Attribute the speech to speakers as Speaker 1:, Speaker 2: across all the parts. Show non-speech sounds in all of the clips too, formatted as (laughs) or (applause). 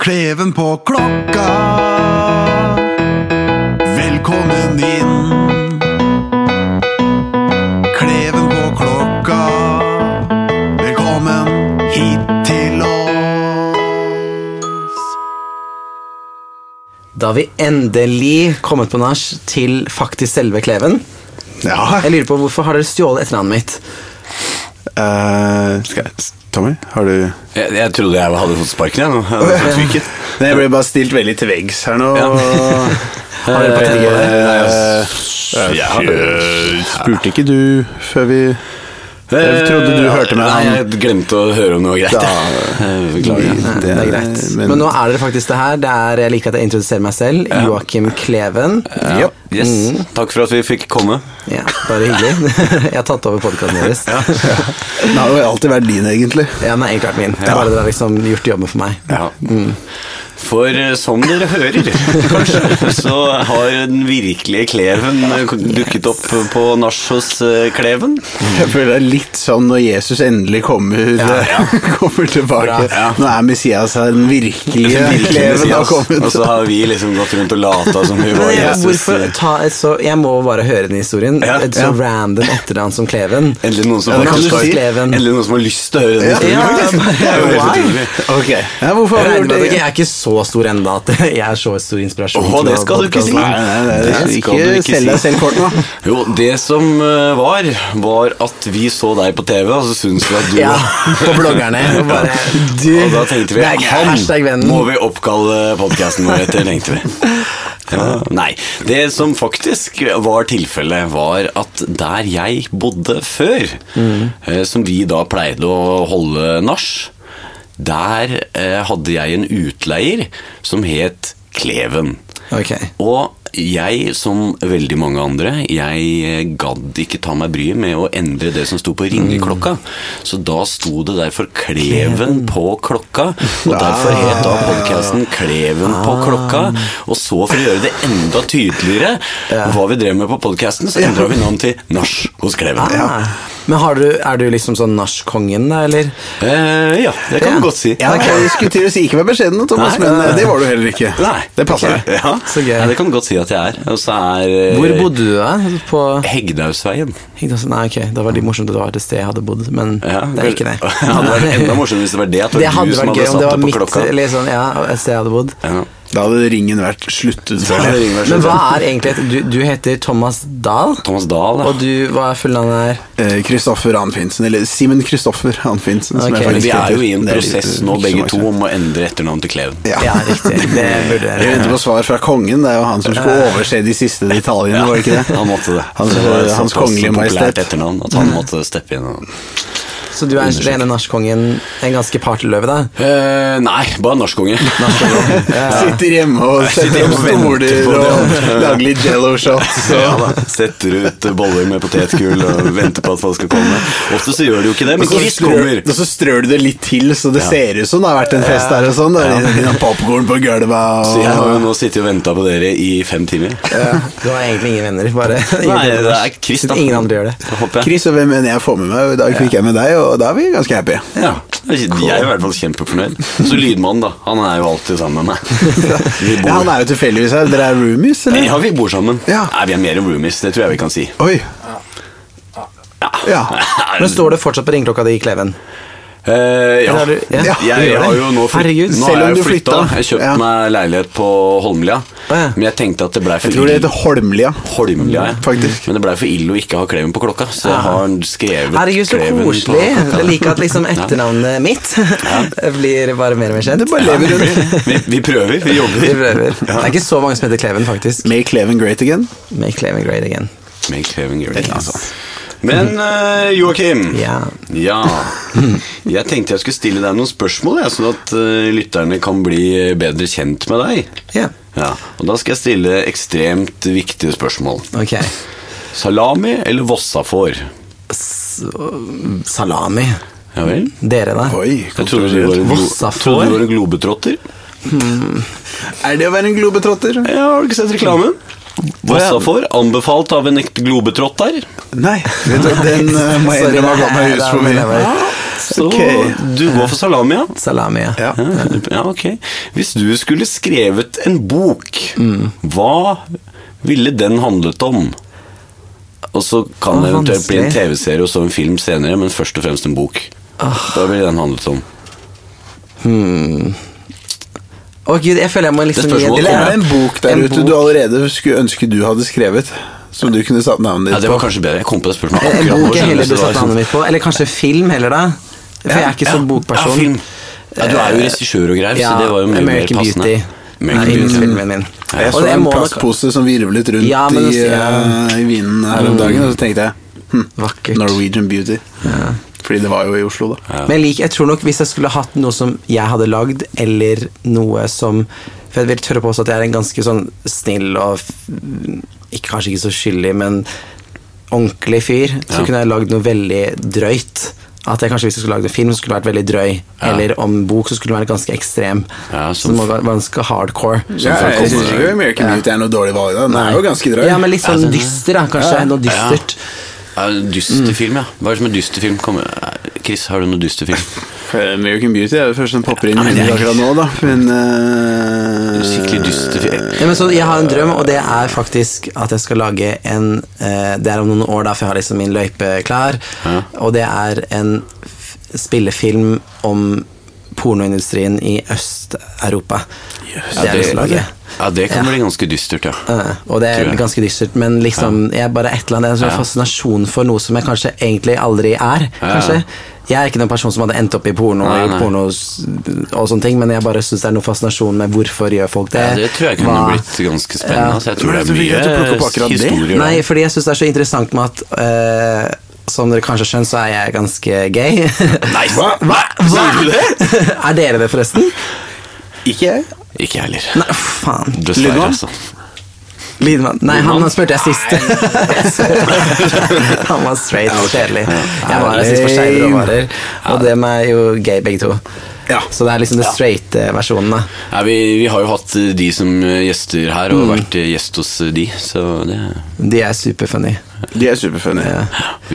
Speaker 1: Kleven på klokka. Velkommen inn. Kleven på klokka. Velkommen hit til oss.
Speaker 2: Da har vi endelig kommet på nach til faktisk selve Kleven.
Speaker 1: Ja,
Speaker 2: Jeg lurer på Hvorfor har dere stjålet etternavnet mitt?
Speaker 1: eh, skal jeg, Tommy, har du
Speaker 3: Jeg, jeg trodde jeg hadde fått sparken, jeg. nå. Jeg hadde fått fyken.
Speaker 1: Nei, jeg ble bare stilt veldig til veggs her (laughs) nå. Har dere
Speaker 2: Eh,
Speaker 1: partier?
Speaker 3: Jeg har-
Speaker 1: Spurte ikke du før vi Jeg trodde du hørte meg.
Speaker 3: Eh, Nei, jeg glemte å høre om det var greit. jeg. Eh, (laughs) Beklager.
Speaker 2: Nei, det er
Speaker 3: Eh,
Speaker 2: greit. Men, nå er dere faktisk det her. Det er, jeg liker at jeg introduserer meg selv. Joakim Kleven. Mm,
Speaker 3: Ja. Yes. Mm. Takk for at vi fikk komme.
Speaker 2: Ja, bare hyggelig. (laughs) Jeg har tatt over podkasten deres.
Speaker 1: Det har jo alltid vært din, egentlig.
Speaker 2: Ja, den har egentlig vært min. Det er Bare dere har liksom gjort jobben for meg.
Speaker 3: Ja. For eh, som dere hører,
Speaker 1: (laughs)
Speaker 3: kanskje, så har den virkelige Kleven eh, dukket opp på nach hos eh, Kleven.
Speaker 1: Jeg føler det er litt sånn når Jesus endelig kommer, (laughs) kommer tilbake.
Speaker 2: Bra,
Speaker 3: ja.
Speaker 1: Nå er Messias her, den virkelige kleven har kommet.
Speaker 3: Og så har vi liksom gått rundt og lata som vi var
Speaker 2: Men jeg,
Speaker 3: Jesus. eh,
Speaker 2: hvorfor ta et så Jeg må bare høre den historien.
Speaker 3: Ja,
Speaker 2: Et så
Speaker 3: ja.
Speaker 2: random etternavn som Kleven.
Speaker 3: Endelig noen som
Speaker 2: Ja, det kan
Speaker 3: faktisk
Speaker 2: du
Speaker 3: har-
Speaker 2: si. Kleven.
Speaker 3: Endelig noen som har lyst til å høre den
Speaker 1: Ja.
Speaker 3: historien.
Speaker 2: Ja,
Speaker 3: faktisk.
Speaker 2: bare-
Speaker 3: (laughs) det er jo helt
Speaker 2: why?
Speaker 3: utrolig.
Speaker 1: Ok, ja,
Speaker 2: Jeg
Speaker 1: hvorfor har vi
Speaker 2: regner
Speaker 1: gjort
Speaker 2: med at
Speaker 1: det?
Speaker 2: jeg er ikke så stor enda at jeg er så stor inspirasjon.
Speaker 3: Åh, det skal du ikke si.
Speaker 1: Nei, nei, nei,
Speaker 3: Det skal
Speaker 1: ikke
Speaker 3: du ikke
Speaker 1: selg deg
Speaker 3: si.
Speaker 1: selv kort nå.
Speaker 3: Jo, det som eh, var, var at vi så deg på TV, og så syntes vi at du
Speaker 2: Ja,
Speaker 3: var
Speaker 2: på
Speaker 3: (laughs)
Speaker 2: bloggerne. Og bare, du,
Speaker 3: Og da tenkte vi
Speaker 2: det er
Speaker 3: han
Speaker 2: hashtag vennen.
Speaker 3: må vi oppkalle podkasten vår etter, tenkte
Speaker 2: (laughs)
Speaker 3: vi. Ja, nei. Det som faktisk var tilfellet, var at der jeg bodde før,
Speaker 2: Mm.
Speaker 3: eh, som vi da pleide å holde nach, der eh, hadde jeg en utleier som het Kleven.
Speaker 2: Ok.
Speaker 3: Og jeg, som veldig mange andre, jeg eh, gadd ikke ta meg bryet med å endre det som sto på ringeklokka. Så da sto det derfor Kleven på klokka, og derfor het da podkasten Kleven på klokka. Og så, for å gjøre det enda tydeligere hva vi drev med på podkasten, så endra vi navn til Nach hos Kleven.
Speaker 2: Ah. Men har du, er du liksom sånn nachkongen, da, eller?
Speaker 3: Eh, ja, det kan
Speaker 2: Ja.
Speaker 3: man godt si.
Speaker 1: Ja, Jeg skulle til å si ikke vær beskjeden, Thomas,
Speaker 3: Nei,
Speaker 1: men
Speaker 3: nei,
Speaker 1: eh,
Speaker 3: nei.
Speaker 1: det var du heller ikke.
Speaker 3: Nei.
Speaker 1: Det passer deg.
Speaker 3: Ja,
Speaker 2: Så gøy.
Speaker 3: Ja, det kan du godt si at jeg er. Og så er eh,
Speaker 2: Hvor bodde du da? På
Speaker 3: Hegdausveien.
Speaker 2: Hegdasen? Nei, ok, det var litt morsomt at det var et sted jeg hadde bodd, men
Speaker 3: (laughs) Ja,
Speaker 2: det er ikke det.
Speaker 3: Det hadde vært enda morsommere hvis det var det. At det
Speaker 2: Det
Speaker 3: var du
Speaker 2: hadde
Speaker 3: som
Speaker 2: vært gøy om
Speaker 3: hadde satt
Speaker 2: det
Speaker 3: det
Speaker 2: var
Speaker 3: på
Speaker 2: mitt
Speaker 3: klokka.
Speaker 2: eller sånn, ja, et sted jeg hadde bodd.
Speaker 3: Ja.
Speaker 1: Da hadde ringen vært sluttet.
Speaker 3: Da hadde ringen vært
Speaker 2: Men hva
Speaker 3: sluttet.
Speaker 2: er egentlig et Du, du heter Thomas Dahl,
Speaker 3: Thomas Dahl, da.
Speaker 2: og du, hva er fullnavnet her?
Speaker 1: Eh, Kristoffer Anfinsen, eller Simen Kristoffer Anfinsen. som
Speaker 2: Ok.
Speaker 1: jeg
Speaker 3: Men
Speaker 1: faktisk
Speaker 3: vi er jo
Speaker 1: heter.
Speaker 3: i en
Speaker 1: Det er litt,
Speaker 3: prosess
Speaker 1: eh,
Speaker 3: nå,
Speaker 1: ikke så
Speaker 3: begge
Speaker 1: mange
Speaker 3: to, om å endre etternavn til Kleven.
Speaker 1: Ja.
Speaker 2: Ja, (laughs) riktig. Det burde
Speaker 1: Vi
Speaker 2: jeg.
Speaker 1: venter på svar fra kongen. Det er jo han som skulle overse de siste detaljene, var det ikke det?
Speaker 3: (laughs) Han måtte det.
Speaker 1: Hans,
Speaker 3: det var et
Speaker 1: hans
Speaker 3: såpass
Speaker 1: kongelige
Speaker 3: populært
Speaker 1: majestet.
Speaker 3: etternavn at han måtte steppe inn. og-
Speaker 2: Så du er den ene nachkongen, en ganske partyløve, da?
Speaker 3: Eh, nei, bare norskkonge.
Speaker 1: Sitter hjemme og setter opp
Speaker 3: hjemme og venter
Speaker 1: stoler
Speaker 3: på det,
Speaker 1: og
Speaker 3: han.
Speaker 1: lager litt jello shots.
Speaker 3: (laughs) Ja, da. Setter ut eh, boller med potetgull og venter på at folk skal komme. Ofte så gjør de jo ikke det, men
Speaker 1: Og så
Speaker 3: Chris
Speaker 1: strør-
Speaker 3: kommer.
Speaker 1: og så strør du det litt til, så det ser ut som det har vært en fest der og sånn. Det er litt- litt popcorn på gulvet
Speaker 3: Så jeg har jo
Speaker 1: og
Speaker 3: nå sittet og venta på dere i fem timer.
Speaker 2: Du har egentlig (laughs) ingen venner. Bare
Speaker 3: Nei, det er Chris, da.
Speaker 2: Ingen andre gjør det.
Speaker 3: Håper jeg.
Speaker 1: Chris og hvem enn jeg får med meg, i dag fikk jeg med deg, og da er vi ganske happy.
Speaker 3: Ja, jeg er i hvert fall kjempefornøyd. Så lydmannen, da. Han er jo alltid
Speaker 2: (laughs)
Speaker 3: sammen med meg. Vi
Speaker 1: Ja, han
Speaker 3: bor,
Speaker 1: er jo tilfeldigvis her. Dere er roomies, eller?
Speaker 3: ja, vi bor sammen.
Speaker 1: Ja.
Speaker 3: Nei, vi er mer enn roomies, det tror jeg vi kan si.
Speaker 1: Oi. Ja.
Speaker 2: Men står det fortsatt på ringeklokka di i Kleven?
Speaker 3: Eh, ja.
Speaker 2: Eller er du- ja.
Speaker 3: Jeg, jeg har jo nå flytt-
Speaker 2: Herregud,
Speaker 3: nå har
Speaker 1: selv om
Speaker 3: jeg
Speaker 1: du
Speaker 3: jo flytta.
Speaker 1: flytta.
Speaker 3: Jeg kjøpte
Speaker 1: Ja.
Speaker 3: meg leilighet på Holmlia,
Speaker 2: ja.
Speaker 3: men jeg tenkte at det blei for
Speaker 1: Jeg tror det
Speaker 3: ille.
Speaker 1: heter Holmlia.
Speaker 3: Holmlia, ja.
Speaker 1: Faktisk.
Speaker 3: Men det blei for ille å ikke ha kleven på klokka, så jeg har skrevet
Speaker 2: Ah. Herregud, så
Speaker 3: Kleven på
Speaker 2: koselig.
Speaker 3: klokka.
Speaker 2: Jeg liker at liksom etternavnet mitt (laughs) blir bare mer og mer kjent.
Speaker 1: Det bare lever under.
Speaker 3: Vi, vi prøver, vi
Speaker 2: Vi
Speaker 3: jobber
Speaker 2: prøver. Det er ikke så mange som heter Kleven, faktisk.
Speaker 1: Make Leven great again.
Speaker 2: Make Kleven great again.
Speaker 3: med Kleven Girl.
Speaker 1: eller annet sånt.
Speaker 3: altså. Men eh, Joakim.
Speaker 2: Ja.
Speaker 3: Ja. Jeg tenkte jeg skulle stille deg noen spørsmål, jeg, sånn at eh, lytterne kan bli eh, bedre kjent med deg.
Speaker 2: Ja.
Speaker 3: Ja, Og da skal jeg stille ekstremt viktige spørsmål.
Speaker 2: Ok.
Speaker 3: Salami eller vossafår?
Speaker 2: Salami.
Speaker 3: Ja vel?
Speaker 2: Dere, da?
Speaker 1: Oi,
Speaker 3: Jeg trodde du var en, glo
Speaker 2: Vossafår?
Speaker 3: trodde du var en globetrotter.
Speaker 1: Er det å være en globetrotter?
Speaker 3: Ja, Har du ikke sett reklamen? Vossafår, anbefalt av en ekte globetrotter.
Speaker 1: Nei, vet du, den eh, må jeg
Speaker 2: Sorry,
Speaker 1: innrømme har gått
Speaker 2: det
Speaker 1: meg
Speaker 2: er-
Speaker 1: hus for
Speaker 2: det er-
Speaker 1: mye.
Speaker 2: det er-
Speaker 3: Så
Speaker 1: Ok.
Speaker 3: du går for salami, ja?
Speaker 2: Salami, ja.
Speaker 1: Ja.
Speaker 3: Ja, ja, ok. Hvis du skulle skrevet en bok, hva ville den handlet om? Og så
Speaker 2: Å,
Speaker 3: kan det eventuelt bli en
Speaker 2: vanskelig.
Speaker 3: TV-serie og så en film senere, men først og fremst en bok. Hva ville den handlet om?
Speaker 2: Å gud, jeg føler jeg må liksom
Speaker 3: Det spørs
Speaker 2: gi en-
Speaker 3: hvor
Speaker 1: Eller er det en bok der
Speaker 2: En
Speaker 1: ute
Speaker 2: bok.
Speaker 1: du allerede skulle ønske du hadde skrevet, som du kunne satt navnet
Speaker 3: Ja,
Speaker 1: ditt
Speaker 3: det var
Speaker 1: på?
Speaker 3: kanskje bedre. Jeg kom på det spørsmålet
Speaker 2: En
Speaker 3: akkurat nå.
Speaker 2: bok jeg Eh,
Speaker 3: skjønner
Speaker 2: heller burde
Speaker 3: du, så det var
Speaker 2: satt
Speaker 3: liksom-
Speaker 2: navnet mitt på. Eller kanskje film heller, da. For jeg er ikke så bokperson.
Speaker 3: Ja, film. Ja, du er jo regissør og greier, så det var jo mye mer
Speaker 2: American
Speaker 3: passende.
Speaker 2: Beauty.
Speaker 3: American
Speaker 2: er
Speaker 3: Beauty.
Speaker 2: filmen min.
Speaker 1: Jeg
Speaker 2: Og
Speaker 1: så
Speaker 2: det
Speaker 1: en
Speaker 2: må nok-
Speaker 1: plastpose som virvlet rundt
Speaker 2: Ja, men
Speaker 1: i,
Speaker 2: det sier jeg. Mm.
Speaker 1: eh, i vinden her om dagen, og så tenkte jeg hm,
Speaker 2: Vakkert.
Speaker 1: Norwegian Beauty. Fordi det var jo i Oslo, da.
Speaker 2: Men jeg, liker, jeg tror nok hvis jeg skulle hatt noe som jeg hadde lagd, eller noe som For jeg vil tørre påstå at jeg er en ganske sånn snill og f- ikke, Kanskje ikke så skyldig, men ordentlig fyr. Så
Speaker 3: Ja.
Speaker 2: kunne jeg lagd noe veldig drøyt. At jeg kanskje Hvis jeg skulle lagd en film, så skulle det vært veldig drøy. Eller om bok, så skulle det vært ganske ekstrem.
Speaker 3: Ja,
Speaker 2: så
Speaker 3: som-
Speaker 2: det må være ganske hardcore.
Speaker 1: Ja,
Speaker 3: for å
Speaker 1: jeg
Speaker 3: komme-
Speaker 1: syns ikke American Beauty er noe dårlig valg. da. Den er jo ganske drøy.
Speaker 2: Ja, men litt sånn dyster, da. Kanskje. Noe dystert.
Speaker 3: Ja, Dysterfilm, ja. Hva er det som er dysterfilm? Kom, eh, Chris, har du noe dysterfilm?
Speaker 1: American Beauty er det første som popper inn i
Speaker 3: men
Speaker 1: minnet
Speaker 3: det er-
Speaker 1: akkurat nå, da. Men eh,
Speaker 3: Skikkelig dysterfilm.
Speaker 2: Ja, men så jeg har en drøm, og det er faktisk at jeg skal lage en eh, Det er om noen år, da, for jeg har liksom min løype klar.
Speaker 3: Ja.
Speaker 2: Og det er en f- spillefilm om pornoindustrien i Øst-Europa.
Speaker 3: Ja,
Speaker 2: Det er det jeg skal lage.
Speaker 3: ja, det kan bli ganske dystert, ja.
Speaker 2: Eh, og det
Speaker 3: Tror
Speaker 2: er
Speaker 3: jeg.
Speaker 2: ganske dystert, men liksom jeg er bare et eller annet, jeg har en sånn fascinasjon for noe som jeg kanskje egentlig aldri er.
Speaker 3: Ja.
Speaker 2: Kanskje Jeg er ikke noen person som hadde endt opp i porno,
Speaker 3: Nei,
Speaker 2: og gjort
Speaker 3: nei.
Speaker 2: porno s- og sånne ting men jeg bare syns det er noe fascinasjon med hvorfor gjør folk det.
Speaker 3: Ja, det tror jeg kunne
Speaker 2: Hva-
Speaker 3: blitt ganske spennende.
Speaker 2: Ja.
Speaker 3: Altså, jeg tror
Speaker 1: Men
Speaker 3: det
Speaker 1: jeg tror ikke at du
Speaker 3: er
Speaker 1: plukker opp
Speaker 3: mye
Speaker 1: akkurat det.
Speaker 3: historier.
Speaker 2: Nei, fordi jeg syns det er så interessant med at eh, Som dere kanskje har skjønt, så er jeg ganske gay. (laughs)
Speaker 3: Nei,
Speaker 1: Hva? Hva? Sier du det?
Speaker 2: er dere det, forresten?
Speaker 1: eh, Ikke jeg.
Speaker 3: Ikke jeg heller.
Speaker 2: Nei, faen.
Speaker 3: Dessverre,
Speaker 1: Lydmann?
Speaker 3: altså.
Speaker 2: Lydmann. Nei, han, han spurte jeg sist. (laughs) han var straight. Kjedelig. Jeg var her sist for skeive råvarer, og dem er jo gay, begge to.
Speaker 1: Ja.
Speaker 2: Så det er liksom den straighte versjonen, da.
Speaker 3: Nei, vi, vi har jo hatt eh, de som eh, gjester her,
Speaker 1: Mm.
Speaker 3: og vært eh, gjest hos eh, de, så det
Speaker 2: De er superfunny.
Speaker 1: De er superfunny.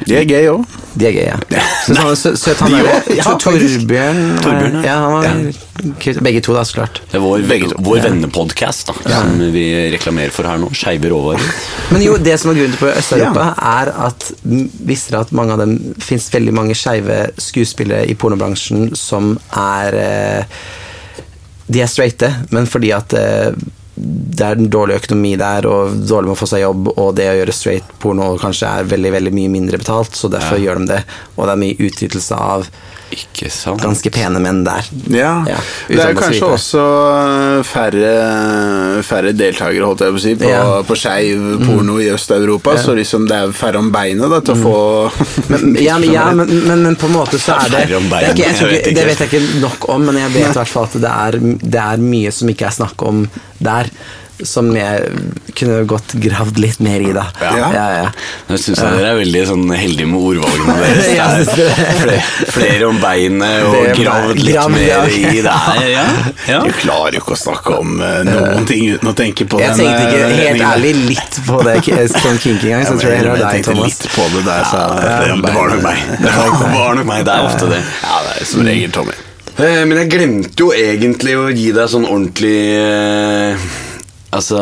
Speaker 1: De er gay òg.
Speaker 2: De er gay, ja. Så han er sø- søt, han
Speaker 1: De
Speaker 2: er
Speaker 1: også? Ja,
Speaker 2: Tor-
Speaker 1: faktisk.
Speaker 2: Torbjørn. var-
Speaker 3: Torbjørn, ja.
Speaker 2: Ja, han var kul. Begge to, da, så klart.
Speaker 3: det er vår,
Speaker 1: Begge to.
Speaker 3: vår vennepodcast da, som vi reklamerer for her nå. Skeive råvarer.
Speaker 2: Men jo, det som er grunnen til på Øst-Europa, er at m, visste dere at mange av dem fins veldig mange skeive skuespillere i pornobransjen som er eh, De er straighte, men fordi at eh, det er den dårlige økonomi der, og dårlig med å få seg jobb, og det å gjøre straight porno kanskje er veldig veldig mye mindre betalt, så derfor gjør de det. Og det er mye utnyttelse av
Speaker 3: Ikke sant?
Speaker 2: ganske pene menn der.
Speaker 1: Ja.
Speaker 2: Ja,
Speaker 1: Det
Speaker 2: utdannet og
Speaker 1: er jo
Speaker 2: så
Speaker 1: kanskje
Speaker 2: videre.
Speaker 1: også færre, færre deltakere, holdt jeg på å si, på,
Speaker 2: Ja. Mm.
Speaker 1: på skeiv porno i Øst-Europa, så liksom det er færre om beinet da, til å få
Speaker 2: (laughs) Men, ja, men, ja, men, men, men på en måte så er det,
Speaker 3: Færre om
Speaker 2: det,
Speaker 3: bein,
Speaker 2: er ikke, jeg tror
Speaker 3: jeg vet
Speaker 2: ikke,
Speaker 3: ikke.
Speaker 2: det vet jeg ikke nok om, men jeg vet i hvert fall at det er, det er mye som ikke er snakk om der, som jeg kunne godt gravd litt mer i. da
Speaker 1: Ja.
Speaker 2: Ja, ja.
Speaker 3: Jeg syns dere er veldig sånn heldige med ordvalgene deres.
Speaker 2: Ja, jeg synes
Speaker 3: Det er flere, flere om beinet og
Speaker 2: Det er
Speaker 3: gravd
Speaker 2: meg.
Speaker 3: litt
Speaker 2: Gravd, ja.
Speaker 3: mer i der. Ja. (laughs) Ja.
Speaker 1: Du klarer jo ikke å snakke om eh, noen ting uten å tenke på
Speaker 2: Jeg
Speaker 1: den,
Speaker 2: tenkte
Speaker 1: eh,
Speaker 2: ikke helt
Speaker 1: retningen.
Speaker 2: ærlig litt på det k- som kink engang, så jeg tror jeg heller det er deg,
Speaker 1: tenkte
Speaker 2: Thomas.
Speaker 1: litt på det der, så
Speaker 3: Det var nok
Speaker 2: (laughs)
Speaker 3: meg.
Speaker 1: (laughs)
Speaker 3: Det var nok meg. Det er ofte det.
Speaker 1: Ja, det er som regel Tommy.
Speaker 3: Eh, Men jeg glemte jo egentlig å gi deg sånn ordentlig eh, Altså,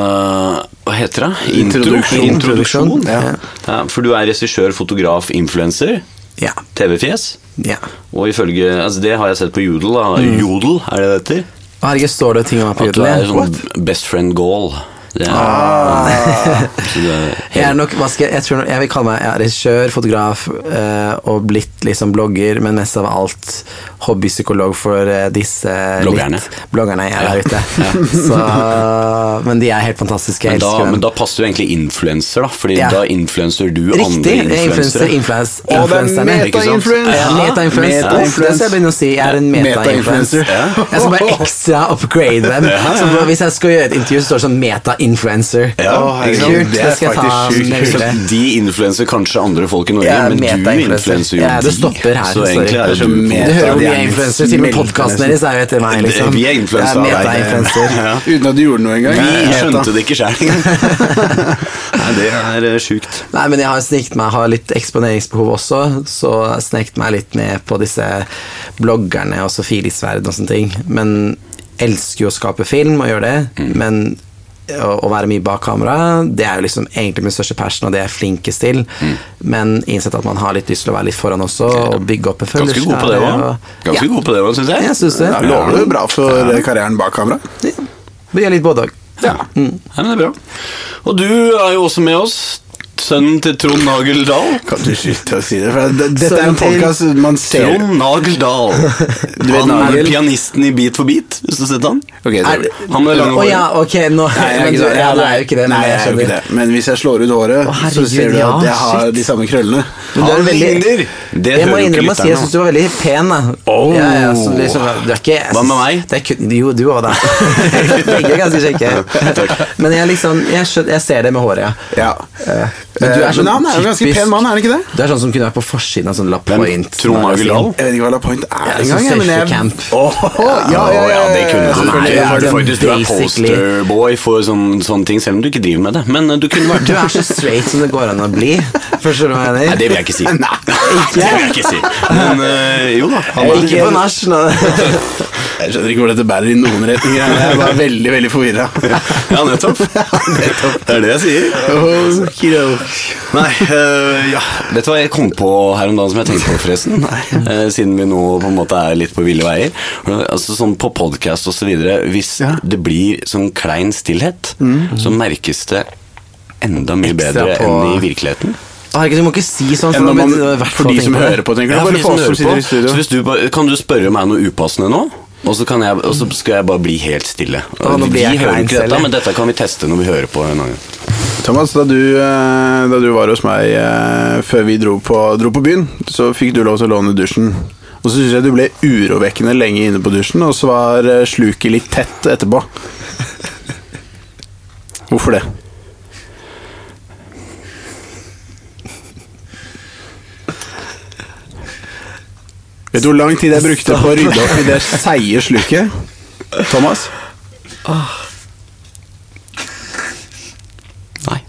Speaker 3: hva heter det?
Speaker 1: Introduksjon.
Speaker 3: Introduksjon.
Speaker 1: Ja.
Speaker 3: Ja, for du er regissør, fotograf, influenser.
Speaker 2: Ja.
Speaker 3: TV-fjes.
Speaker 2: ja.
Speaker 3: Og ifølge altså Det har jeg sett på Jodel. Da. Jodel, er det det heter?
Speaker 2: Og Herregud, står det ting om meg på
Speaker 3: At du
Speaker 2: jodel?
Speaker 3: er
Speaker 2: ja?
Speaker 3: sånn best friend goal. Det er, så det er
Speaker 2: Ah. Jeg, er nok, hva skal jeg, jeg, tror, nok- jeg vil kalle meg jeg er regissør, fotograf eh, og blitt liksom blogger, men mest av alt hobbypsykolog for eh, disse
Speaker 3: Bloggerne.
Speaker 2: Litt, bloggerne jeg er der
Speaker 3: (laughs)
Speaker 2: ute. Så, men de er helt fantastiske. Jeg
Speaker 3: men, da,
Speaker 2: elsker dem.
Speaker 3: men da passer du egentlig influenser, da. Fordi
Speaker 2: Ja.
Speaker 3: da influenser du andre
Speaker 2: Riktig! jeg er Influencer,
Speaker 3: influensere.
Speaker 2: influence,
Speaker 1: Å, det er
Speaker 2: influencerne.
Speaker 3: ikke sant?
Speaker 1: meta-influence.
Speaker 2: Ja, Meta-influencer.
Speaker 1: Meta-influence.
Speaker 2: Det skal jeg begynne å si. Jeg er en meta-influencer.
Speaker 1: Meta-influencer.
Speaker 3: (laughs)
Speaker 2: Jeg skal bare ekstra upgrade dem. Så hvis jeg skal gjøre et intervju, så står det sånn influencer.
Speaker 1: Ja,
Speaker 2: Ikke
Speaker 1: herregud,
Speaker 2: sant?
Speaker 1: det er
Speaker 2: skal jeg ta
Speaker 1: faktisk sjukt
Speaker 2: med
Speaker 1: kult.
Speaker 3: Så
Speaker 2: videre.
Speaker 3: de influenser kanskje andre folk i Norge,
Speaker 2: Jeg er
Speaker 3: men du
Speaker 2: meta-influencer.
Speaker 3: influenser jo
Speaker 2: Ja, det
Speaker 3: de.
Speaker 2: stopper her,
Speaker 3: Så
Speaker 2: sorry.
Speaker 3: egentlig er det
Speaker 1: Du
Speaker 3: så meta.
Speaker 2: Du hører
Speaker 1: Ja,
Speaker 2: hvor
Speaker 1: de
Speaker 2: mye
Speaker 1: er
Speaker 2: influenser til og med podkasten deres er jo etter meg, liksom.
Speaker 3: Vi er influensa av
Speaker 2: Jeg
Speaker 3: deg.
Speaker 2: meta-influencer.
Speaker 3: (laughs) Ja.
Speaker 1: Uten at du gjorde noe engang.
Speaker 3: Vi
Speaker 1: Helt da.
Speaker 3: skjønte det
Speaker 2: (laughs)
Speaker 3: ikke sjøl engang. Nei, det er eh, sjukt.
Speaker 2: Nei, men jeg har snikt meg, har litt eksponeringsbehov også, så jeg snekt meg litt ned på disse bloggerne og Sofirisverd og sånne ting. Men elsker jo å skape film og gjøre det,
Speaker 3: Mm.
Speaker 2: men å, å være mye bak kamera, det er jo liksom egentlig min største passion, og det er jeg flinkest til.
Speaker 3: Mm.
Speaker 2: Men innsett at man har litt lyst til å være litt foran også, og bygge opp en følelse.
Speaker 3: Ganske god på det òg. Ganske god på det òg, syns jeg.
Speaker 2: Jeg synes det.
Speaker 1: Ja, lover jo bra for eh, karrieren bak kamera.
Speaker 2: Ja. Det gjør litt både òg.
Speaker 3: Ja. Nei, men det er bra. Og du er jo også med oss. Sønnen til Trond Nagel Dahl.
Speaker 1: Kan du slutte å si det? For det, dette er
Speaker 2: Sønnen
Speaker 1: en podkast man ser
Speaker 3: Trond Nagel Dahl.
Speaker 1: vet
Speaker 3: Han er
Speaker 1: Nagel?
Speaker 3: pianisten i Beat for beat, hvis du har sett han.
Speaker 1: Ok, så-
Speaker 3: Er- han med det lange
Speaker 2: Å ja,
Speaker 3: håret.
Speaker 2: ok, nå
Speaker 1: jeg
Speaker 2: men
Speaker 1: er
Speaker 2: du-
Speaker 1: ikke det.
Speaker 2: ja, det er jo ikke det. men
Speaker 1: Nei, jeg er jo
Speaker 2: skjønner.
Speaker 1: ikke det. Men hvis jeg slår ut håret,
Speaker 2: Å, herregud,
Speaker 1: så ser du
Speaker 2: ja,
Speaker 1: at jeg har
Speaker 2: shit.
Speaker 1: de samme
Speaker 2: Men
Speaker 1: krøllene.
Speaker 2: du er
Speaker 3: Han
Speaker 2: veldig-
Speaker 3: ligner! Det
Speaker 2: jeg må
Speaker 3: hører jo ikke
Speaker 2: innrømme å si jeg
Speaker 3: lytterne.
Speaker 2: syns du var veldig pen. Da.
Speaker 3: Oh.
Speaker 2: Ja, ja, så liksom, du er ikke, jeg
Speaker 3: Hva med
Speaker 2: synes-
Speaker 3: meg?
Speaker 2: Det er kun, jo, du
Speaker 1: (laughs)
Speaker 2: òg, da. Begge er ganske kjekke. Men jeg, liksom, jeg, skjønner, jeg ser det med håret, ja.
Speaker 1: Ja.
Speaker 2: Eh,
Speaker 1: Men, du er sånn, han er jo en ganske
Speaker 2: typisk-
Speaker 1: pen mann, er han ikke det?
Speaker 2: Du er sånn som kunne vært på forsiden av sånn La
Speaker 3: Hvem?
Speaker 2: Point.
Speaker 3: Trond Nagel Dahl?
Speaker 1: Jeg vet ikke hva La Point
Speaker 2: Ja,
Speaker 1: er
Speaker 2: sånn
Speaker 1: engang. jeg, men jeg-
Speaker 2: surfecamp.
Speaker 1: Åh, ja, ja, ja,
Speaker 3: det kunne
Speaker 1: ja,
Speaker 3: du selvfølgelig.
Speaker 1: selvfølgelig.
Speaker 2: Nei,
Speaker 3: Er du
Speaker 2: den
Speaker 3: faktisk du er
Speaker 2: basically-
Speaker 3: posterboy for sånn- sånne ting, selv om du ikke driver med det. Men eh, du kunne vært
Speaker 2: Du er så straight som det går an å bli. Forstår du hva jeg
Speaker 3: Nei,
Speaker 2: mener?
Speaker 3: det vil jeg ikke si.
Speaker 1: Nei.
Speaker 3: (laughs) Det vil jeg ikke si. Men eh, jo da. Han er,
Speaker 2: Ikke på nach, nå.
Speaker 1: Jeg skjønner ikke hvor dette bærer i noen retninger. Jeg er bare veldig,
Speaker 2: (laughs)
Speaker 1: veldig forvirra. (laughs)
Speaker 3: (laughs) ja, nettopp. Det er det jeg sier. Nei, eh, ja. Vet du hva jeg kom på her om dagen som jeg tenkte på, forresten? Eh, siden vi nå på en måte er litt på ville veier. Altså sånn På podkast osv. Hvis
Speaker 1: Ja.
Speaker 3: det blir sånn klein stillhet, så merkes det enda mye
Speaker 2: Ekstra
Speaker 3: bedre
Speaker 2: på-
Speaker 3: enn i virkeligheten.
Speaker 2: Herregud, du må ikke si sånn, for,
Speaker 1: Enn
Speaker 2: da
Speaker 1: om man-
Speaker 2: blir det i hvert
Speaker 1: for
Speaker 2: fall
Speaker 1: de
Speaker 2: tenkt
Speaker 1: som
Speaker 2: på det.
Speaker 1: hører på, tenker
Speaker 3: Ja, for
Speaker 1: du? Bare
Speaker 3: de som
Speaker 1: for oss som
Speaker 3: hører
Speaker 1: sitter
Speaker 3: på.
Speaker 1: i studio.
Speaker 3: Så hvis du bare, kan du spørre meg noe upassende nå? Og så, kan jeg, og så skal jeg bare bli helt stille.
Speaker 2: Å, nå blir
Speaker 3: vi
Speaker 2: jeg
Speaker 3: hører
Speaker 2: klein
Speaker 3: ikke
Speaker 2: selv,
Speaker 3: dette,
Speaker 2: jeg.
Speaker 3: men dette kan vi teste når vi hører på en annen gang.
Speaker 1: Thomas, da du, eh, da du var hos meg eh, før vi dro på, dro på byen, så fikk du lov til å låne dusjen. Og så syns jeg du ble urovekkende lenge inne på dusjen, og så var eh, sluket litt tett etterpå. Hvorfor det? Vet du hvor lang tid jeg brukte på å rydde opp i det seige sluket? Thomas?
Speaker 3: Nei.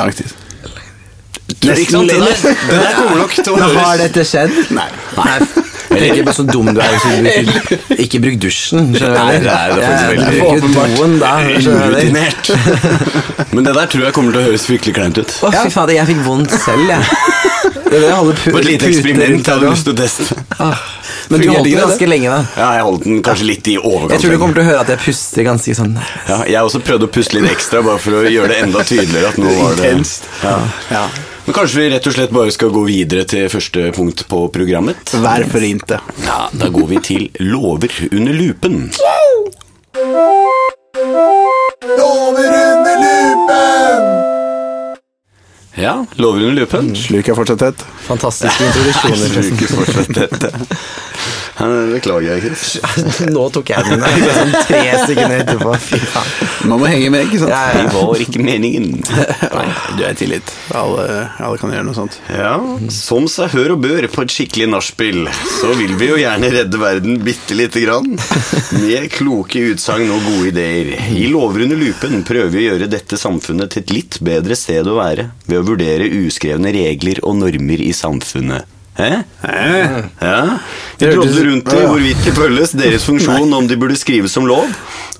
Speaker 1: Lang tid.
Speaker 3: Ikke sant? Det der, det der kommer nok til å
Speaker 2: Men har
Speaker 3: høres
Speaker 2: dette skjedd? Nei. Jeg tenker bare så dum du er hvis du bruker, ikke bruk dusjen.
Speaker 3: Nei, det er- det er faktisk veldig-
Speaker 2: Åpenbart. Doen, da, skjønner du.
Speaker 3: Urutinert. (laughs) Men det der tror jeg kommer til å høres fryktelig kleint ut.
Speaker 2: Å, fy fader, jeg fikk vondt selv, jeg. Det er det jeg holder pu
Speaker 3: På et lite
Speaker 2: puter
Speaker 3: eksperiment
Speaker 2: rundt
Speaker 3: jeg
Speaker 2: her
Speaker 3: hadde
Speaker 2: nå.
Speaker 3: lyst til å teste.
Speaker 2: Ah, Men du
Speaker 1: Fungerer
Speaker 2: holdt
Speaker 1: det,
Speaker 2: den
Speaker 1: det?
Speaker 2: ganske lenge, da.
Speaker 3: Ja, jeg holdt den kanskje litt i overkant.
Speaker 2: Jeg tror du kommer til å høre at jeg puster ganske sånn
Speaker 3: ja, Jeg også prøvde å puste litt ekstra, bare for å gjøre det enda tydeligere at nå var det
Speaker 1: Intenst.
Speaker 3: Ja.
Speaker 1: Ja.
Speaker 3: Men kanskje vi rett og slett bare skal gå videre til første punkt på programmet?
Speaker 1: Vær forinte.
Speaker 3: Ja, da går vi til lover under lupen.
Speaker 1: Lover under lupen!
Speaker 3: Ja, lover under lupen.
Speaker 1: Sluk er fortsatt tett.
Speaker 2: fantastiske introduksjoner. forresten.
Speaker 3: fortsatt dette. (laughs) Beklager jeg, Chris.
Speaker 2: (laughs) Nå tok jeg den. da. Sånn tre sekunder etterpå. Fy faen.
Speaker 1: Man må henge med, ikke sant?
Speaker 2: Ja, ja.
Speaker 3: Det var ikke (laughs) meningen.
Speaker 1: Du er tillit. Alle, alle kan gjøre noe sånt.
Speaker 3: Ja, som seg hør og bør på et skikkelig nachspiel, så vil vi jo gjerne redde verden bitte lite grann. Med kloke utsagn og gode ideer. I Lover under lupen prøver vi å gjøre dette samfunnet til et litt bedre sted å være ved å vurdere uskrevne regler og normer i samfunnet. Hæ? Ja. Vi drodler rundt i hvorvidt de følges, deres funksjon, om de burde skrives som lov,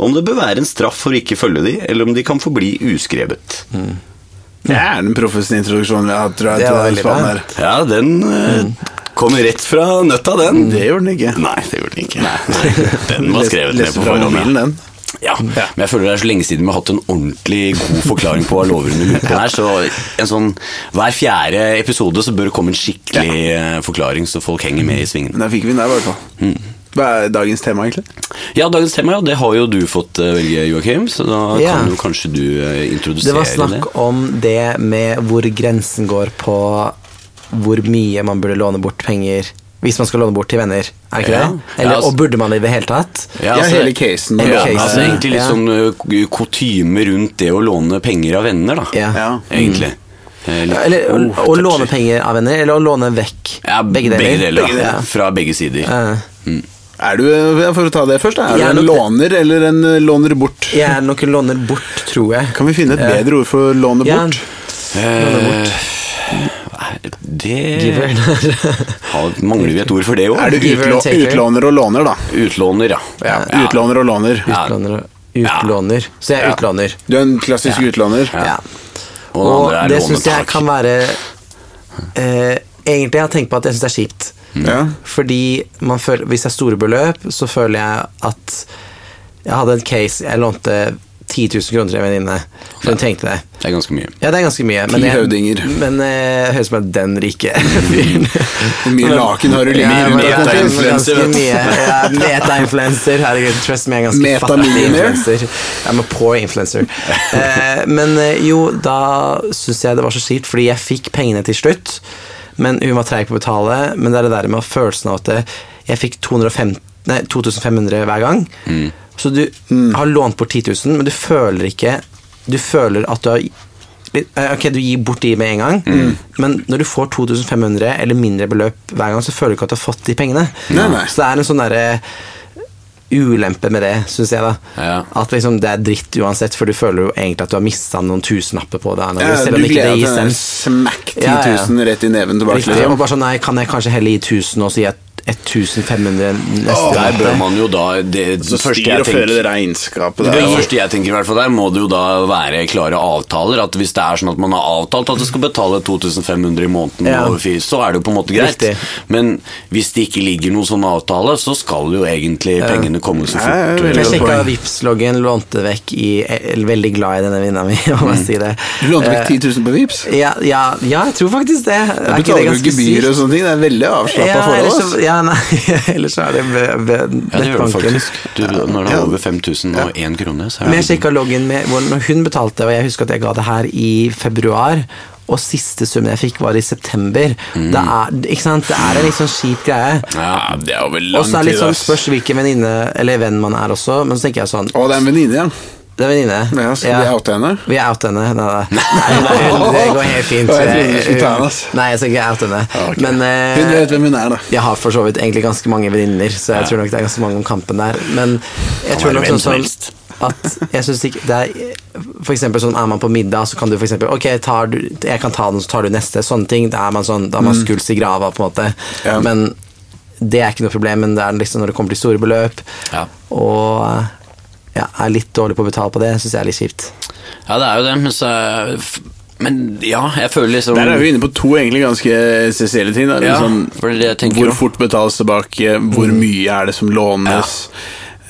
Speaker 3: om det bør være en straff for ikke å følge de, eller om de kan forbli uskrevet.
Speaker 1: Det er den proffeste introduksjonen vi har hatt. tror jeg,
Speaker 2: Det
Speaker 1: til
Speaker 2: var
Speaker 1: den
Speaker 2: veldig
Speaker 1: spannen
Speaker 2: bra.
Speaker 1: her.
Speaker 3: Ja, den eh, kom rett fra nøtta, den.
Speaker 1: Mm. Det gjorde den ikke.
Speaker 3: Nei, det gjorde den ikke. Den var skrevet ned
Speaker 1: Leste
Speaker 3: på
Speaker 1: fra mobilen,
Speaker 3: forhånd. ja.
Speaker 1: den. Mm.
Speaker 3: Ja, men jeg føler det er så lenge siden vi har hatt en ordentlig god forklaring på hva lover under
Speaker 1: (laughs)
Speaker 3: lupen er, så en sånn, hver fjerde episode så bør det komme en skikkelig eh, forklaring, så folk
Speaker 1: Mm.
Speaker 3: henger med i svingen.
Speaker 1: Men da fikk vi den der, i hvert fall.
Speaker 2: Hmm.
Speaker 1: Hva er dagens tema, egentlig?
Speaker 3: Ja, dagens tema, ja, det har jo du fått eh, velge, Joakim, så da
Speaker 2: Ja.
Speaker 3: kan jo kanskje du eh, introdusere
Speaker 2: Det var snakk om det med hvor grensen går på hvor mye man burde låne bort penger hvis man skal låne bort til venner. Er det ikke
Speaker 3: Ja.
Speaker 2: det? Eller,
Speaker 3: Ja, altså-
Speaker 2: og burde man det i det hele tatt?
Speaker 1: Ja, hele casen.
Speaker 3: Ja,
Speaker 2: Hele
Speaker 3: men altså,
Speaker 2: casen,
Speaker 3: egentlig litt
Speaker 2: ja.
Speaker 3: sånn ø, k- kutyme rundt det å låne penger av venner, da.
Speaker 2: Ja.
Speaker 1: Ja.
Speaker 3: Egentlig. Eh, litt-
Speaker 2: Ja, Eller å,
Speaker 3: oh,
Speaker 2: å
Speaker 3: touchy.
Speaker 2: låne penger av venner, eller å låne vekk.
Speaker 3: Ja,
Speaker 2: begge deler.
Speaker 3: Begge deler.
Speaker 2: Ja.
Speaker 3: ja. Fra begge sider.
Speaker 2: Eh,
Speaker 1: Er du, eh, for å ta det først, da,
Speaker 2: Jeg
Speaker 1: er
Speaker 2: er
Speaker 1: du en
Speaker 2: nok-
Speaker 1: låner eller en eh, låner bort?
Speaker 2: jeg er nok en låner bort, tror jeg.
Speaker 1: Kan vi finne et bedre ord for låne
Speaker 2: Ja.
Speaker 1: bort?
Speaker 3: Eh,
Speaker 2: Giver.
Speaker 3: det ha, Mangler vi et ord for det
Speaker 1: Er du
Speaker 3: òg?
Speaker 2: det- Oh, Giver and
Speaker 1: utlå
Speaker 2: taker.
Speaker 1: utlåner og låner, da?
Speaker 3: Utlåner, ja.
Speaker 1: Ja. Utlåner og låner.
Speaker 2: Utlåner. utlåner. Så jeg er
Speaker 1: Ja.
Speaker 2: utlåner.
Speaker 1: Du er en klassisk utlåner.
Speaker 2: Ja.
Speaker 3: Og den
Speaker 2: Og
Speaker 3: andre er
Speaker 2: det syns jeg
Speaker 3: lånetaker.
Speaker 2: kan være eh, Egentlig jeg har tenkt på at jeg syns det er kjipt.
Speaker 1: Ja.
Speaker 2: Fordi man føler, hvis det er store beløp, så føler jeg at Jeg hadde en case jeg lånte 10 000 kroner til en venninne, for hun trengte det.
Speaker 3: Det er ganske mye.
Speaker 2: Ja, det er ganske mye.
Speaker 1: Ti
Speaker 2: jeg-
Speaker 1: høvdinger.
Speaker 2: Men eh, jeg høres ut som jeg er den rike (laughs) fyren.
Speaker 1: Hvor mye laken har du
Speaker 2: Jeg er
Speaker 1: ligget rundt
Speaker 2: ganske-
Speaker 1: deg?
Speaker 2: (laughs) ganske
Speaker 1: Influencer, vet du.
Speaker 2: mye. Jeg er Meta-influencer. Herregud, trust me, jeg er ganske fattig
Speaker 1: Metamillionaire?
Speaker 2: influencer. I'm a poor influencer. Eh, men eh, jo, da syns jeg det var så kjipt, fordi jeg fikk pengene til slutt. Men hun var treig på å betale. Men det er det der med følelsen av at det- jeg fikk 250, nei, 2500 hver gang. Så du
Speaker 1: Mm.
Speaker 2: har lånt bort 10 000, men du føler ikke Du føler at du har litt- eh, Ok, du gir bort de med en gang, men når du får 2500 eller mindre beløp hver gang, så føler du ikke at du har fått de pengene.
Speaker 1: Nei, nei.
Speaker 2: Så det er en sånn derre ulempe med det, syns jeg. da
Speaker 3: Ja.
Speaker 2: At liksom det er dritt uensett, for du føler jo egentlig at du har mista noen tusenlapper på det.
Speaker 1: Ja,
Speaker 2: selv
Speaker 1: du
Speaker 2: om ikke det
Speaker 1: gleder deg
Speaker 2: gir
Speaker 1: til den
Speaker 2: sens.
Speaker 1: smack 10
Speaker 2: Ja, ja.
Speaker 1: 000 rett i neven tilbake.
Speaker 2: Riktig, og
Speaker 1: Liksom.
Speaker 2: bare sånn, nei, kan jeg kanskje helle i 1000 og si at 1500 neste
Speaker 1: Åh,
Speaker 3: Der
Speaker 2: gang?
Speaker 3: bør man jo da det,
Speaker 1: Så
Speaker 3: første
Speaker 1: styr
Speaker 3: jeg
Speaker 1: og føre
Speaker 3: tenker-
Speaker 1: det regnskapet
Speaker 3: Det
Speaker 1: der. og-
Speaker 3: første jeg tenker, i hvert fall der må det jo da være klare avtaler. At Hvis det er sånn at man har avtalt at du skal betale 2500 i måneden,
Speaker 2: Ja.
Speaker 3: over fire, så er det jo på en måte greit.
Speaker 2: Riktig.
Speaker 3: Men hvis det ikke ligger noen sånn avtale, så skal jo egentlig pengene komme så
Speaker 1: Ja,
Speaker 3: fort.
Speaker 1: ja,
Speaker 2: Jeg
Speaker 1: veldig
Speaker 3: eh,
Speaker 1: godt.
Speaker 2: sjekka
Speaker 1: poeng.
Speaker 2: Vipps-loggen, lånte vekk i jeg er Veldig glad i denne vinneren min, (laughs) om jeg sier det.
Speaker 1: Mm. Du lånte
Speaker 2: Eh,
Speaker 1: vekk 10 000 på Vipps?
Speaker 2: Ja, ja, ja, jeg tror faktisk det.
Speaker 1: Da
Speaker 2: Er ikke det
Speaker 1: betaler du
Speaker 2: ganske sykt?
Speaker 1: gebyr og sånne ting. Det er veldig avslappa
Speaker 2: Ja,
Speaker 1: forhold.
Speaker 2: ellers
Speaker 1: ass.
Speaker 2: så, ja, nei, (laughs) ellers så er det ved, ved
Speaker 3: Ja, det gjør det
Speaker 2: nettbanken.
Speaker 3: faktisk. Du, når det er over 5000 og én krone, så er
Speaker 2: Men
Speaker 3: det
Speaker 2: jeg sjekka loggen med hvor- når hun betalte, og jeg husker at jeg ga det her i februar. Og siste summen jeg fikk, var i september.
Speaker 1: Mm.
Speaker 2: Det, er, ikke sant? det er en litt sånn kjip greie.
Speaker 3: Ja, det er over
Speaker 2: Og så er det litt sånn
Speaker 1: ass.
Speaker 2: spørs hvilken venninne eller venn man er også, men så tenker jeg sånn
Speaker 1: Å, det er en venninne igjen.
Speaker 2: Det er venninne.
Speaker 1: Ja, skal vi oute henne?
Speaker 2: Vi er out henne. Nei,
Speaker 1: (laughs)
Speaker 2: nei. nei, nei det går helt fint.
Speaker 1: Å, jeg trodde du skulle ta henne, ass.
Speaker 2: Nei, jeg skal ikke out henne.
Speaker 1: Ja, ok.
Speaker 2: Men eh,
Speaker 1: Hun vet hvem hun er, da.
Speaker 2: jeg har for så vidt egentlig ganske mange venninner, så jeg tror nok det er ganske mange om kampen der. Men jeg
Speaker 3: Kan
Speaker 2: tror
Speaker 3: være
Speaker 2: nok
Speaker 3: hvem
Speaker 2: sånn
Speaker 3: som
Speaker 2: som
Speaker 3: helst.
Speaker 2: at jeg synes ikke det er, For eksempel sånn er man på middag, så kan du for eksempel Ok, tar du, jeg kan ta den, så tar du neste. Sånne ting. Da er man sånn, da er man skuls i grava, på en måte.
Speaker 1: Ja.
Speaker 2: Men det er ikke noe problem, men det er liksom når det kommer til store beløp,
Speaker 3: Ja.
Speaker 2: og ja, er litt dårlig på å betale på det, syns jeg er litt kjipt. sånn-
Speaker 3: Ja, det er jo det, men så er- f- Men ja, jeg føler liksom
Speaker 1: Der er vi inne på to egentlig ganske essensielle ting. Da.
Speaker 3: Ja,
Speaker 1: Liksom,
Speaker 3: for det er det jeg tenker
Speaker 1: hvor
Speaker 3: også.
Speaker 1: fort betales tilbake, hvor
Speaker 2: Mm.
Speaker 1: mye er det som lånes?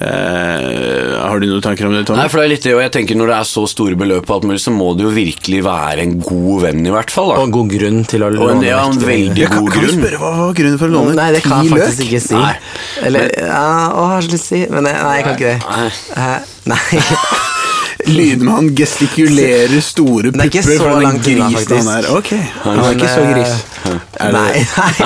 Speaker 1: Eh, har du noen tanker om det, Tom?
Speaker 3: Nei, for det er litt det, og jeg tenker Når det er så store beløp, på alt mulig, så må det jo virkelig være en god venn, i hvert fall. da
Speaker 2: Og en god grunn til å
Speaker 3: Og en- ja,
Speaker 2: vekk
Speaker 3: en
Speaker 2: de pengene.
Speaker 3: veldig
Speaker 1: ja, kan,
Speaker 3: god
Speaker 1: kan du
Speaker 3: grunn.
Speaker 1: spørre hva var grunnen for å låne
Speaker 2: Nei, det kan
Speaker 1: ti
Speaker 2: jeg
Speaker 1: løk?
Speaker 2: faktisk ikke si.
Speaker 3: Nei.
Speaker 2: Eller ja, Å, jeg har så lyst til å si Men nei, nei, jeg kan ikke det.
Speaker 3: Nei.
Speaker 2: Hæ? Nei.
Speaker 1: Lydmann gestikulerer store
Speaker 2: Det er ikke så
Speaker 1: pupper for den
Speaker 2: langt unna,
Speaker 1: grisen han er.
Speaker 2: faktisk.
Speaker 1: Ok, han er
Speaker 2: Men,
Speaker 1: ikke så gris.
Speaker 2: eh,
Speaker 1: Er
Speaker 2: Nei,
Speaker 1: det,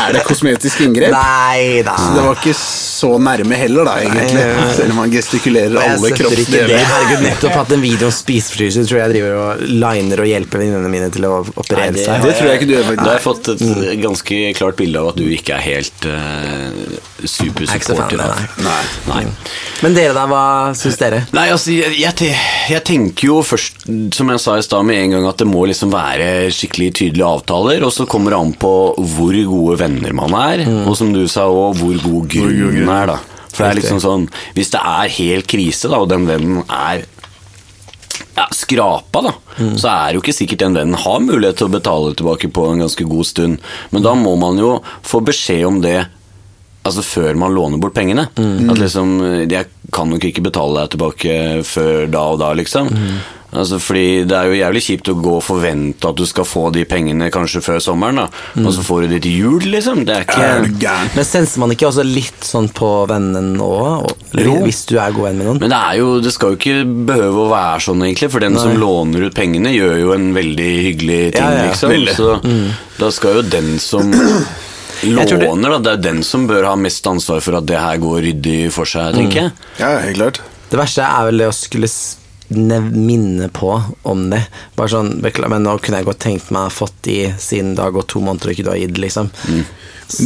Speaker 2: (laughs)
Speaker 1: er det kosmetisk inngrep?
Speaker 2: nei da.
Speaker 1: Så det var ikke så nærme heller, da, egentlig.
Speaker 2: Nei, ja.
Speaker 1: Selv om han gestikulerer
Speaker 2: Jeg
Speaker 1: alle
Speaker 2: støtter ikke det.
Speaker 1: kroppsdeler.
Speaker 2: Herregud, nettopp hatt en video om spiseforstyrrelser. Tror jeg driver og liner og hjelper venninnene mine til å
Speaker 3: Nei,
Speaker 2: operere seg.
Speaker 1: det tror jeg ikke du gjør, faktisk.
Speaker 3: Da har jeg fått et eh, ganske klart bilde av at du ikke er helt uh,
Speaker 2: Jeg er ikke så fan av
Speaker 3: supersupporter
Speaker 2: det,
Speaker 3: av
Speaker 1: Nei. Mm.
Speaker 3: Nei.
Speaker 2: Men dere, da? Hva syns dere?
Speaker 3: Nei, altså, jeg, jeg, te- jeg tenker jo først, som jeg sa i stad med en gang, at det må liksom være skikkelig tydelige avtaler, og så kommer det an på hvor gode venner man er,
Speaker 1: Mm.
Speaker 3: og som du sa òg, hvor god grunnen er, da. For det er liksom sånn, hvis det er helt krise, da, og den vennen er ja, skrapa, da, så er det jo ikke sikkert den vennen har mulighet til å betale tilbake på en ganske god stund. Men da må man jo få beskjed om det altså før man låner bort pengene. At liksom Jeg kan nok ikke betale deg tilbake før da og da, liksom. Altså, fordi Det er jo jævlig kjipt å gå og forvente at du skal få de pengene kanskje før sommeren, da. og så får du det til jul, liksom. Det er ikke
Speaker 1: Er du gæren?
Speaker 2: Men senser man ikke også litt sånn på vennen òg?
Speaker 3: Jo.
Speaker 2: Hvis du er god venn med noen?
Speaker 3: Men det, er jo, det skal jo ikke behøve å være sånn, egentlig. For den som låner ut pengene, gjør jo en veldig hyggelig ting,
Speaker 2: Ja, ja,
Speaker 3: liksom.
Speaker 1: veldig.
Speaker 3: Så da skal jo den som
Speaker 2: Jeg tror det-
Speaker 3: låner, da. Det er jo den som bør ha mest ansvar for at det her går ryddig for seg, tenker jeg.
Speaker 1: Ja, helt klart.
Speaker 2: Det verste er vel det å skulle s- nev- minne på om det. Bare sånn, beklager, men nå kunne jeg godt tenkt meg å ha fått de siden det har gått to måneder og ikke du har gitt, liksom. Så
Speaker 1: Mm.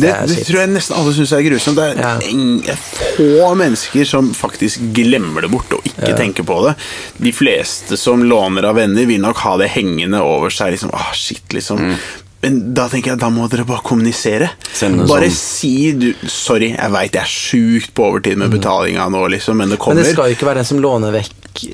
Speaker 1: Det,
Speaker 2: er
Speaker 1: det
Speaker 2: kjipt.
Speaker 1: tror jeg nesten alle syns er grusomt. Det er
Speaker 2: Ja.
Speaker 1: eng- få mennesker som faktisk glemmer det bort og ikke tenker på det. De fleste som låner av venner, vil nok ha det hengende over seg. Liksom, ah, shit, liksom.
Speaker 2: Mm.
Speaker 1: Men da tenker jeg, da må dere bare kommunisere.
Speaker 3: Send en
Speaker 1: Bare
Speaker 3: sånn-
Speaker 1: si du 'sorry, jeg veit jeg er sjukt på overtid med betalinga nå', liksom, men det kommer.
Speaker 2: Mm. Men det skal jo ikke være den som låner vekk eh,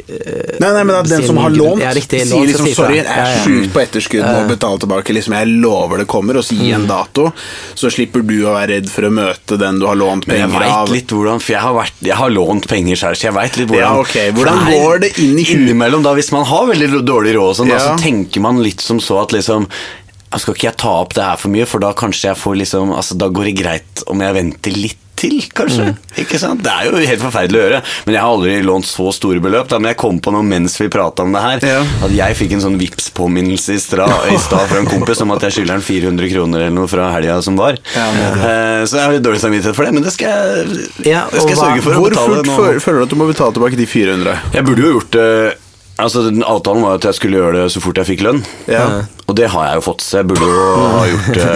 Speaker 1: Nei, nei, men at den
Speaker 2: sin
Speaker 1: som har
Speaker 2: grunn-
Speaker 1: lånt,
Speaker 2: ja, riktig,
Speaker 1: sier
Speaker 2: lån, så
Speaker 1: liksom
Speaker 2: sier fra.
Speaker 1: 'sorry, jeg er
Speaker 2: Ja, ja.
Speaker 1: sjukt på etterskudd, må betale tilbake', liksom 'jeg lover det kommer', og så gi
Speaker 3: Mm.
Speaker 1: en dato. Så slipper du å være redd for å møte den du har lånt
Speaker 3: Men jeg
Speaker 1: penger
Speaker 3: veit
Speaker 1: av.
Speaker 3: litt hvordan For jeg har, vært, jeg har lånt penger selv, så jeg veit litt hvordan
Speaker 1: Ja, ok. Hvordan
Speaker 3: For er
Speaker 1: går det inn i huet?
Speaker 3: Innimellom, da, hvis man har veldig dårlig råd, og sånn, da,
Speaker 1: Ja.
Speaker 3: så tenker man litt som så at liksom «Ja, Skal ikke jeg ta opp det her for mye, for da kanskje jeg får liksom altså, Da går det greit om jeg venter litt til, kanskje?
Speaker 1: Mm.
Speaker 3: Ikke sant? Det er jo helt forferdelig å gjøre. Men jeg har aldri lånt så store beløp. Da, men jeg kom på noe mens vi prata om det her,
Speaker 1: Ja.
Speaker 3: at jeg fikk en sånn vips påminnelse i stra- i stad fra en kompis om at jeg skylder han 400 kroner eller noe fra helga som var.
Speaker 1: Ja, men-
Speaker 3: Eh, Så jeg har litt dårlig samvittighet for det, men det skal jeg,
Speaker 2: Ja,
Speaker 3: det skal jeg
Speaker 2: og hva-
Speaker 3: sørge for å
Speaker 1: Hvor
Speaker 3: betale
Speaker 1: fort
Speaker 3: nå.
Speaker 1: fø- føler du at du må betale tilbake de 400?
Speaker 3: Jeg burde jo gjort det Altså, den Avtalen var jo at jeg skulle gjøre det så fort jeg fikk lønn.
Speaker 1: Ja.
Speaker 3: Og det har jeg jo fått, så jeg burde jo ha gjort det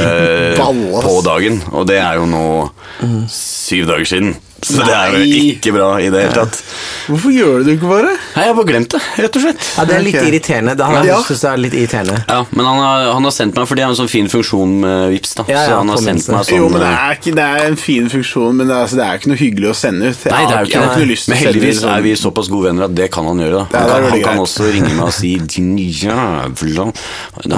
Speaker 1: Balle, ass.
Speaker 3: på dagen. Og det er jo nå syv dager siden, så det er jo
Speaker 1: Nei.
Speaker 3: ikke bra i det hele tatt.
Speaker 1: Hvorfor gjør du det ikke bare?
Speaker 3: Nei, jeg har bare glemt det, rett og slett.
Speaker 2: Ja, det er litt
Speaker 1: Ok.
Speaker 2: irriterende. Det har jeg
Speaker 1: Ja.
Speaker 2: også syntes er litt irriterende.
Speaker 3: Ja, Men han har, han har sendt meg, for de har en sånn fin funksjon med Vips da.
Speaker 2: Ja, ja,
Speaker 3: så han har sendt
Speaker 2: påminnelse.
Speaker 3: meg sånn
Speaker 1: jo, men det er, ikke, det er en fin funksjon, men det er, altså, det er ikke noe hyggelig å sende ut. Jeg
Speaker 3: Nei, det
Speaker 1: har
Speaker 3: er jo ikke
Speaker 1: jeg har
Speaker 3: det.
Speaker 1: noe lyst
Speaker 3: Men
Speaker 1: til å sende
Speaker 3: heldigvis
Speaker 1: ut sånn- (laughs)
Speaker 3: er vi såpass gode venner at det kan han gjøre. da Han
Speaker 1: Ja, det er
Speaker 3: kan, han
Speaker 1: veldig
Speaker 3: kan
Speaker 1: greit.
Speaker 3: også ringe meg og si 'din jævla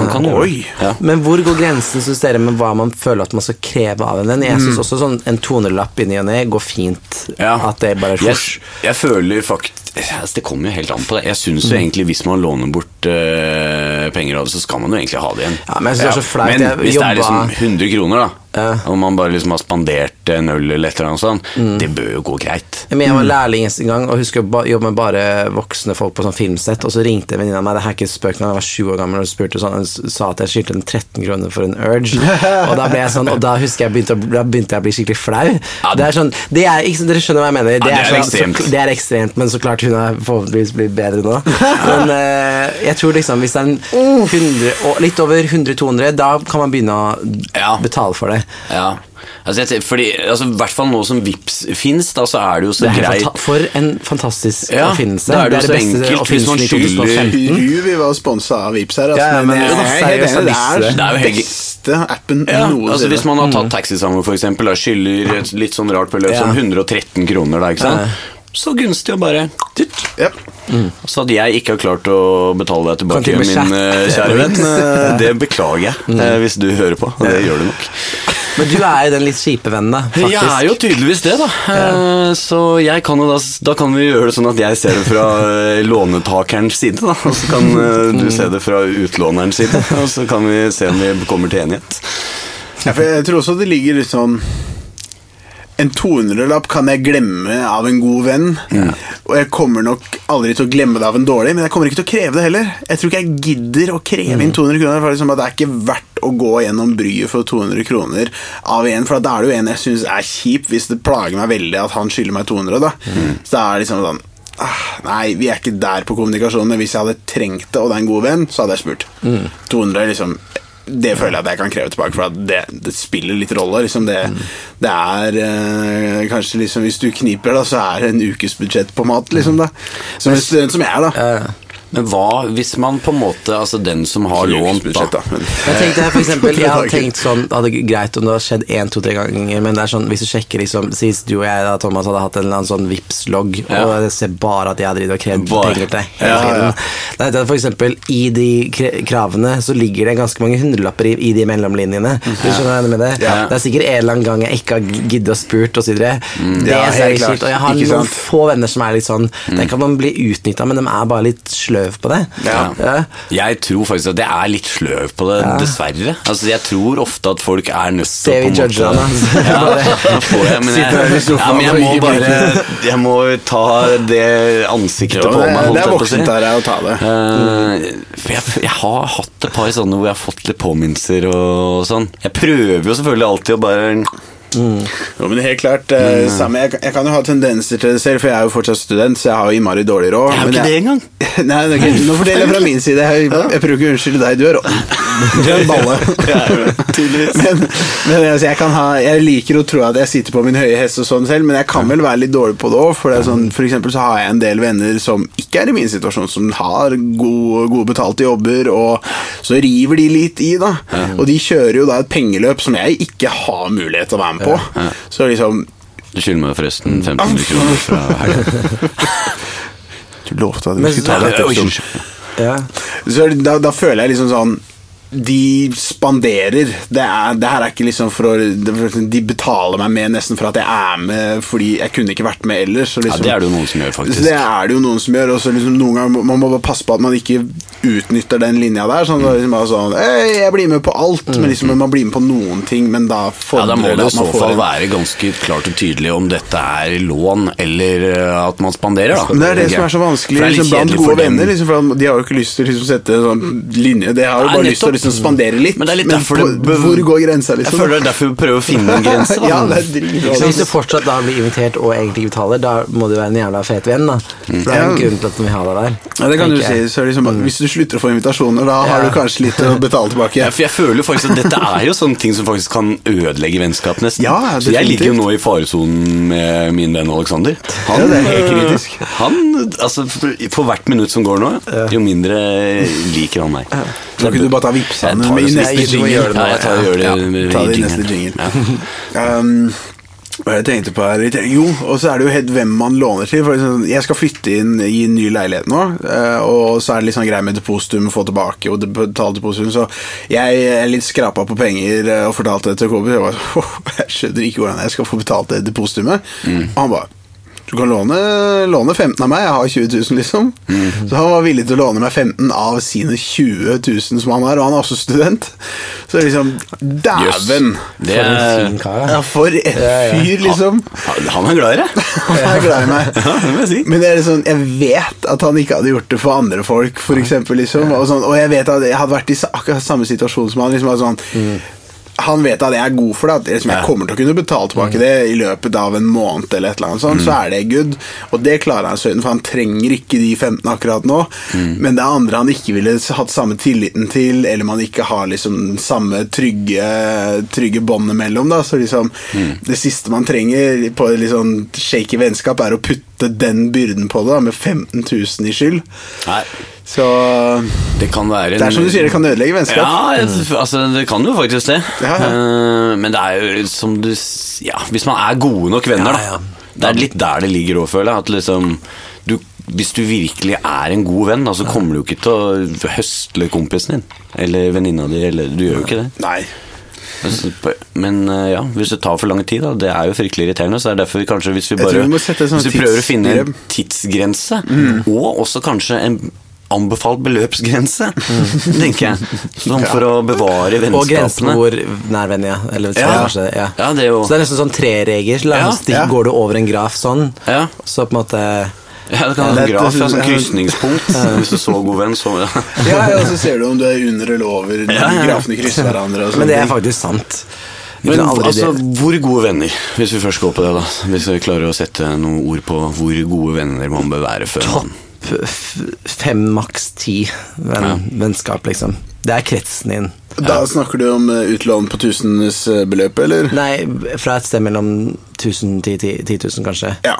Speaker 3: Han kan gjøre
Speaker 1: Oi.
Speaker 3: det. Ja.
Speaker 2: Men hvor går grensen synes dere med hva man føler at man skal kreve av en venn? Jeg
Speaker 1: Mm.
Speaker 2: syns også sånn en tonelapp i ny og ne går fint.
Speaker 3: Ja.
Speaker 2: At det bare
Speaker 3: jeg,
Speaker 2: er fors.
Speaker 3: jeg føler fakt altså, Det kommer jo helt an på det. Jeg syns
Speaker 2: Mm.
Speaker 3: jo egentlig hvis man låner bort eh, penger av det, så skal man jo egentlig ha det igjen.
Speaker 2: Ja, men jeg synes det er så flaut.
Speaker 3: Men
Speaker 2: Jeg
Speaker 3: hvis det
Speaker 2: jobba-
Speaker 3: er liksom 100 kroner, da,
Speaker 2: Ja. Mm.
Speaker 3: og man bare liksom har spandert en øl eller et eller annet sånt, det bør jo gå greit.
Speaker 2: Jeg, mener, jeg var lærling en gang og husker å ba- jobbe med bare voksne folk på sånn filmsett. Og så ringte en venninne av meg, det her er ikke spøk når jeg var sju år gammel, og spurte sånn, og s- sa at jeg skyldte en 13 kroner for en
Speaker 3: (laughs)
Speaker 2: Urge. Og da ble jeg sånn, og da husker jeg begynte, å- da begynte jeg å bli skikkelig flau.
Speaker 3: Ja,
Speaker 2: Det er sånn, det er, ikke, sant, Dere skjønner hva jeg mener?
Speaker 3: Ja, det er
Speaker 2: så-
Speaker 3: ekstremt.
Speaker 2: Så, det er ekstremt, men så klart hun er forhåpentligvis blitt bedre nå.
Speaker 3: (laughs)
Speaker 2: Men eh, jeg tror liksom hvis det er en 100, og litt over 100-200, da kan man begynne å
Speaker 3: Ja.
Speaker 2: betale for det.
Speaker 3: Ja. Altså, jeg, tenker- fordi, altså, I hvert fall nå som Vips fins, da, så er det jo så
Speaker 2: Det er helt
Speaker 3: greit
Speaker 2: fanta- for en fantastisk
Speaker 3: Ja,
Speaker 2: oppfinnelse.
Speaker 3: da er det jo så
Speaker 2: beste
Speaker 3: enkelt hvis
Speaker 2: oppfinnelsen
Speaker 3: man
Speaker 2: i 2015.
Speaker 1: Ruv vi var sponsa av Vipps her, altså,
Speaker 2: Ja, ja, men
Speaker 1: jeg
Speaker 2: det er
Speaker 1: er helt
Speaker 2: seriøst, jeg visste
Speaker 3: det. Det
Speaker 1: enig. Det er
Speaker 3: er
Speaker 1: den
Speaker 3: jo helt-
Speaker 1: beste appen
Speaker 3: Ja, altså
Speaker 1: noensinne.
Speaker 3: Hvis man har tatt taxi sammen, for eksempel, da skylder et litt sånn rart beløp,
Speaker 2: Mm. Ja.
Speaker 3: sånn 113 kroner, da, ikke sant? Så gunstig å bare dytt.
Speaker 1: Ja.
Speaker 3: Så at jeg ikke har klart å betale deg
Speaker 2: Kan til
Speaker 3: tilbake,
Speaker 2: og med
Speaker 3: min eh,
Speaker 2: chat.
Speaker 3: kjære venn, eh, det beklager jeg eh, hvis du hører på. og Det gjør du nok.
Speaker 2: Men du er jo den litt kjipe vennen, da. Faktisk.
Speaker 3: Jeg er jo tydeligvis det, da. Eh, Så jeg kan jo da, da kan vi gjøre det sånn at jeg ser det fra eh, lånetakerens side, da. Og så kan eh, du se det fra utlånerens side, og så kan vi se om vi kommer til enighet.
Speaker 1: Ja, for jeg tror også det ligger litt sånn En 200-lapp kan jeg glemme av en god venn. Og jeg kommer nok aldri til å glemme det av en dårlig, men jeg kommer ikke til å kreve det heller. Jeg tror ikke jeg gidder å kreve inn 200 kroner. For liksom at det er ikke verdt å gå gjennom bryet for 200 kroner av en, for da er det jo en jeg syns er kjip, hvis det plager meg veldig at han skylder meg 200. da Så det er liksom sånn ah, Nei, vi er ikke der på kommunikasjon, men hvis jeg hadde trengt det, og det er en god venn, så hadde jeg spurt. 200 er liksom det føler jeg at jeg kan kreve tilbake, for at det, det spiller litt rolle. Liksom det, det er eh, kanskje liksom Hvis du kniper, da, så er det en ukes budsjett på mat, liksom. da Som en student som jeg er,
Speaker 3: Eh,
Speaker 1: da.
Speaker 3: Men hva hvis man på en måte, altså den som har lånt
Speaker 1: Ukesbudsjett,
Speaker 3: da
Speaker 1: Men,
Speaker 2: Jeg tenkte for
Speaker 1: (laughs)
Speaker 2: eksempel, jeg hadde
Speaker 1: Beklager.
Speaker 2: tenkt sånn Det hadde vært greit om det hadde skjedd én, to, tre ganger, men det er sånn, hvis du sjekker liksom Sist du og jeg da, Thomas, hadde hatt en eller annen sånn Vipps-logg, og
Speaker 3: Ja.
Speaker 2: jeg ser bare at jeg har drevet og krevd
Speaker 3: Bare.
Speaker 2: penger til deg hele
Speaker 1: Ja, ja.
Speaker 2: tiden. Nei, det er for eksempel, i de kre- kravene så ligger det ganske mange hundrelapper i, i de mellomlinjene. Du skjønner hva jeg mener med det?
Speaker 1: Ja.
Speaker 2: Det er sikkert en eller annen gang jeg ikke har giddet å spurt, og så videre. Det
Speaker 1: Mm. Ja,
Speaker 2: synes jeg er
Speaker 1: helt
Speaker 2: litt
Speaker 1: klart.
Speaker 2: kjipt. Og jeg har
Speaker 1: Ikke
Speaker 2: noen
Speaker 1: sant? Mm.
Speaker 2: få venner som er litt sånn Der kan man bli utnytta, men de er bare litt slø sløv på det.
Speaker 3: Ja.
Speaker 2: Ja.
Speaker 3: Jeg tror faktisk at jeg er litt sløv på det, dessverre. Altså, jeg tror ofte at folk er nødt til
Speaker 2: Ser
Speaker 3: å på
Speaker 2: vi
Speaker 3: en
Speaker 2: judger han, altså.
Speaker 3: måte- (laughs) Ja, nå får jeg, men jeg,
Speaker 1: Sitter her i sofaen
Speaker 3: ja, men jeg
Speaker 1: og
Speaker 3: må
Speaker 1: ikke blir-
Speaker 3: bare Jeg må ta det ansiktet
Speaker 1: Ja,
Speaker 3: på
Speaker 1: det-
Speaker 3: meg. holdt
Speaker 1: det er
Speaker 3: jeg på å si.
Speaker 1: voksent av deg å ta det.
Speaker 3: Eh, for jeg, jeg har hatt et par sånne hvor jeg har fått litt påminnelser og sånn. Jeg prøver jo selvfølgelig alltid å bare
Speaker 1: Jo, men helt klart, eh, samme, jeg, jeg kan jo ha tendenser til det selv, for jeg er jo fortsatt student, så jeg har jo innmari dårlig råd.
Speaker 3: Jeg er jo
Speaker 1: men
Speaker 3: ikke det engang.
Speaker 1: Nei, det er ikke- nå forteller jeg fra min side. Jeg, jeg prøver ikke å unnskylde deg, du er råtten. Du er en (laughs) balle. Men, men altså, jeg, kan ha, jeg liker å tro at jeg sitter på min høye hest og sånn selv, men jeg kan vel være litt dårlig på det òg. For, det er sånn, for eksempel så har jeg en del venner som ikke er i min situasjon, som har gode, gode betalte jobber, og så river de litt i, da. Og de kjører jo da et pengeløp som jeg ikke har mulighet til å være med på. Så liksom
Speaker 3: Du skylder meg forresten 1500 kroner fra helga.
Speaker 1: Du lovte at
Speaker 2: Men-
Speaker 1: vi skulle ta
Speaker 2: Ja,
Speaker 1: det sånn.
Speaker 3: oi,
Speaker 1: etter.
Speaker 3: unnskyld.
Speaker 2: Ja.
Speaker 1: Så er det- da, da føler jeg liksom sånn de spanderer. Det, er, det her er ikke liksom for å det er for- De betaler meg med nesten for at jeg er med fordi jeg kunne ikke vært med ellers. så
Speaker 3: Ja,
Speaker 1: Liksom,
Speaker 3: det er det jo noen som gjør,
Speaker 1: Så det
Speaker 3: faktisk.
Speaker 1: er det jo noen som gjør. Og så liksom noen ganger må- Man må bare passe på at man ikke utnytter den linja der. Sånn, at liksom bare sånn «Øy, Jeg blir med på alt, men liksom man blir med på noen ting, men da
Speaker 3: Mm. Ja, Da
Speaker 1: fordrer
Speaker 3: må
Speaker 1: det
Speaker 3: det i
Speaker 1: at man
Speaker 3: så
Speaker 1: får
Speaker 3: fall
Speaker 1: en-
Speaker 3: være ganske klart og tydelig om dette er lån eller eh, at man spanderer, da.
Speaker 1: Men det er det som er så vanskelig
Speaker 3: For det er litt
Speaker 1: liksom, blant
Speaker 3: kjedelig
Speaker 1: gode
Speaker 3: for dem.
Speaker 1: venner. Liksom, for De har jo ikke lyst til å liksom, sette en sånn linje. De har jo
Speaker 3: Nei,
Speaker 1: bare lyst til å
Speaker 3: nettopp.
Speaker 1: liksom, spandere litt.
Speaker 3: Men det er litt derfor
Speaker 1: på,
Speaker 3: det bør-
Speaker 1: hvor går grensa,
Speaker 3: Jeg
Speaker 1: liksom?
Speaker 3: føler det er derfor vi prøver å finne
Speaker 1: (laughs)
Speaker 3: en grense. da.
Speaker 1: ja, det er dritbra.
Speaker 2: Så hvis du fortsatt da blir invitert og egentlig ikke betaler, da må du være en jævla fet venn, da. For det er jo en
Speaker 1: Ja.
Speaker 2: grunn til at vi har deg der.
Speaker 1: Ja, det kan du
Speaker 2: tenker
Speaker 1: si.
Speaker 2: jeg.
Speaker 1: Så liksom,
Speaker 3: Mm.
Speaker 1: at Hvis du slutter å få invitasjoner, da har
Speaker 2: Ja.
Speaker 1: du kanskje litt å betale tilbake.
Speaker 3: Ja, for jeg føler jo faktisk at dette er jo sånne ting som faktisk kan ødelegge vennskap nesten.
Speaker 1: Ja,
Speaker 3: så jeg
Speaker 1: definitivt.
Speaker 3: ligger jo nå i faresonen med min venn Alexander. Han,
Speaker 1: Ja, det er helt kritisk.
Speaker 3: Han, altså, for, for hvert minutt som går nå, jo mindre liker han meg.
Speaker 1: Kan ikke du bare ta vippsa
Speaker 3: Jeg
Speaker 1: den
Speaker 3: tar
Speaker 1: med i
Speaker 3: det som-
Speaker 1: neste
Speaker 2: Nei, du må
Speaker 1: jingle?
Speaker 2: gjøre det nå,
Speaker 3: Ja, jeg tar, gjør det
Speaker 1: Ja,
Speaker 3: med-
Speaker 1: ta det i
Speaker 3: jinglen.
Speaker 1: neste jingle. Um, hva jeg tenkte på her Jo, og så er det jo helt hvem man låner til. For liksom, jeg skal flytte inn i en ny leilighet nå, eh, og så er det litt sånn greie med depositum, få tilbake og de- betale depositum. Så jeg er litt skrapa på penger eh, og fortalte det til Kobi. Jeg, bare, (laughs) jeg skjønner ikke hvordan jeg skal få betalt det depositumet.
Speaker 2: Mm.
Speaker 1: Og han bare du kan låne, låne 15 av meg, jeg har 20 000, liksom.
Speaker 2: Mm.
Speaker 1: Så han var villig til å låne meg 15 av sine 20 000 som han har, og han er også student. Så liksom,
Speaker 3: Jøss.
Speaker 1: dæven!
Speaker 3: Det
Speaker 2: For en
Speaker 3: er,
Speaker 2: fin kar, da.
Speaker 1: Ja, for en
Speaker 2: ja.
Speaker 1: fyr, liksom.
Speaker 3: han, han er glad i deg.
Speaker 1: (laughs) Han er glad i meg.
Speaker 3: Ja, det må jeg si.
Speaker 1: Men det er sånn, jeg vet at han ikke hadde gjort det for andre folk, for eksempel, liksom. Og, sånn, og jeg vet at jeg hadde vært i sa- akkurat samme situasjon som han. Liksom, at sånn, han vet at jeg er god for det, at
Speaker 3: Mm.
Speaker 1: liksom, jeg
Speaker 3: Ja. Mm.
Speaker 1: kommer til å kunne betale tilbake det i løpet av en måned, eller et eller annet sånt, så er det good. Og det klarer han sønnen, for han trenger ikke de 15 akkurat nå. Men det er andre han ikke ville hatt samme tilliten til, eller man ikke har liksom samme trygge, trygge båndet mellom. Da. Så liksom, det siste man trenger på et litt sånn shaky vennskap, er å putte den byrden på det, da, med 15 000 i skyld.
Speaker 3: Nei,
Speaker 1: Så
Speaker 3: det kan være en,
Speaker 1: det er som du sier, det kan ødelegge vennskap.
Speaker 3: Ja,
Speaker 2: Mm.
Speaker 3: jeg- altså, det kan jo faktisk det.
Speaker 1: Ja, ja.
Speaker 3: Eh, Men det er jo som du s- Ja, hvis man er gode nok venner,
Speaker 2: Ja, ja.
Speaker 3: da. Det er litt der det ligger òg, føler jeg. At liksom du, Hvis du virkelig er en god venn, da, så kommer du jo ikke til å høstle kompisen din. Eller venninna di, eller Du gjør jo ikke det.
Speaker 1: Nei.
Speaker 3: Altså, på- Men eh, ja, hvis det tar for lang tid, da. Det er jo fryktelig irriterende. Så det er derfor vi kanskje hvis vi
Speaker 1: Jeg tror
Speaker 3: bare
Speaker 1: vi må sette sånn
Speaker 3: Hvis vi prøver å finne en
Speaker 1: tidsgrep.
Speaker 3: tidsgrense, og også kanskje en anbefalt beløpsgrense, tenker jeg. Sånn for å bevare
Speaker 2: Og grensen
Speaker 3: vennskapene.
Speaker 2: hvor nær venn jeg er. Eller,
Speaker 3: Ja.
Speaker 2: kanskje, ja.
Speaker 3: Ja, det er jo-
Speaker 2: Så det er nesten sånn treregel. Ja,
Speaker 3: Ja,
Speaker 2: ja.
Speaker 1: ja.
Speaker 2: Går du over en graf sånn,
Speaker 3: Ja.
Speaker 2: så på en måte
Speaker 3: Ja, det kan
Speaker 1: Ja,
Speaker 3: være en
Speaker 1: det-
Speaker 3: graf, ja,
Speaker 1: det-
Speaker 3: sånn
Speaker 1: ja.
Speaker 3: krysningspunkt. Hvis du er så god venn, så (laughs) ja.
Speaker 1: Ja, ja, og så ser du om du er under eller over. når
Speaker 3: ja.
Speaker 1: Grafene krysser hverandre. Og sånne
Speaker 2: Men det er
Speaker 1: ting.
Speaker 2: faktisk sant. Jeg
Speaker 3: Men
Speaker 2: kunne aldri
Speaker 3: altså,
Speaker 2: det-
Speaker 3: hvor gode venner, hvis vi først går på det, da. Hvis vi klarer å sette noen ord på hvor gode venner man bør være før man
Speaker 2: F- f- fem, maks ti venn, vennskap, liksom. Det er kretsen din.
Speaker 1: Da snakker du om eh, utlån på tusenes eh, beløp, eller?
Speaker 2: Nei, fra et sted mellom 1000 til 10 10 000, kanskje.
Speaker 1: Ja.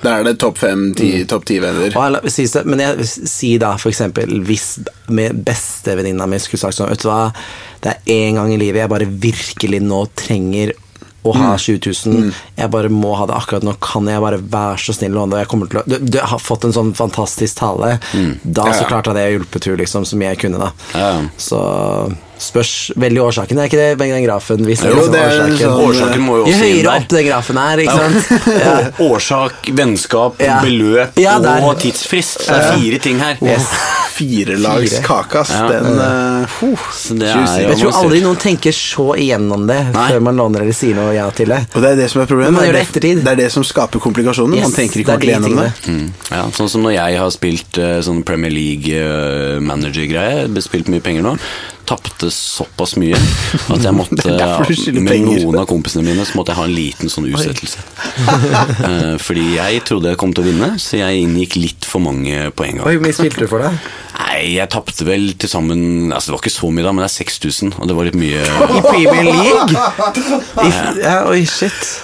Speaker 1: Da er det topp fem, ti,
Speaker 2: Mm.
Speaker 1: topp ti venner.
Speaker 2: Og jeg, la- sies det- men jeg vil si da for eksempel hvis min beste venninna mi skulle sagt sånn Vet du hva, det er én gang i livet jeg bare virkelig nå trenger å ha
Speaker 1: Mm.
Speaker 2: 20 000. Jeg bare må ha det akkurat nå. Kan jeg bare være så snill å låne det? Jeg kommer til å du, du har fått en sånn fantastisk tale. Da
Speaker 1: Ja,
Speaker 2: så
Speaker 1: Mm. ja.
Speaker 2: klart hadde jeg hjulpet henne liksom, som jeg kunne, da.
Speaker 3: Ja, ja.
Speaker 2: Så, Spørs veldig årsaken. Er ikke det den grafen viser?
Speaker 1: Jo,
Speaker 2: liksom
Speaker 1: det er
Speaker 2: årsaken?
Speaker 1: sånn-
Speaker 3: Årsaken må jo
Speaker 2: jo
Speaker 3: også inn
Speaker 2: høyere
Speaker 3: der.
Speaker 2: opp den grafen er, ikke sant?
Speaker 1: (laughs)
Speaker 2: Ja.
Speaker 3: Å- (laughs) Årsak, vennskap,
Speaker 2: Ja.
Speaker 3: beløp
Speaker 2: Ja, der.
Speaker 3: og tidsfrist. Det er fire ting her.
Speaker 2: Yes.
Speaker 1: Firelags
Speaker 2: Fire.
Speaker 1: kake, ass.
Speaker 3: Ja.
Speaker 1: Den eh, huh.
Speaker 3: Så det
Speaker 1: Juicy.
Speaker 3: er jo
Speaker 2: Jeg tror
Speaker 3: avansert.
Speaker 2: aldri noen tenker så igjennom det
Speaker 3: Nei.
Speaker 2: før man låner eller sier noe ja til det.
Speaker 1: Og det er det som er problemet.
Speaker 2: Men man
Speaker 1: det,
Speaker 2: gjør
Speaker 1: er
Speaker 2: det ettertid.
Speaker 1: det er det som skaper komplikasjoner.
Speaker 2: Yes,
Speaker 1: man tenker
Speaker 2: det
Speaker 1: ikke
Speaker 2: er de
Speaker 1: ordentlig gjennom det.
Speaker 2: tingene.
Speaker 3: Mm, ja, sånn som når jeg har spilt eh, sånn Premier eh, League-manager-greie, spilt mye penger nå, tapte såpass
Speaker 2: (laughs)
Speaker 3: mye at jeg måtte,
Speaker 1: Det er derfor du skylder
Speaker 3: med
Speaker 1: penger.
Speaker 3: noen av kompisene mine, så måtte jeg ha en liten sånn
Speaker 2: (laughs)
Speaker 3: utsettelse. Eh, fordi jeg trodde jeg kom til å vinne, så jeg inngikk litt for mange på en gang.
Speaker 2: Oi, hvor mye spilte du for deg?
Speaker 3: Nei, jeg tapte vel til sammen Altså, det var ikke så mye, da, men det er 6000, og det var litt mye.
Speaker 2: (laughs) I Premier League? I, f- ja, oi, shit.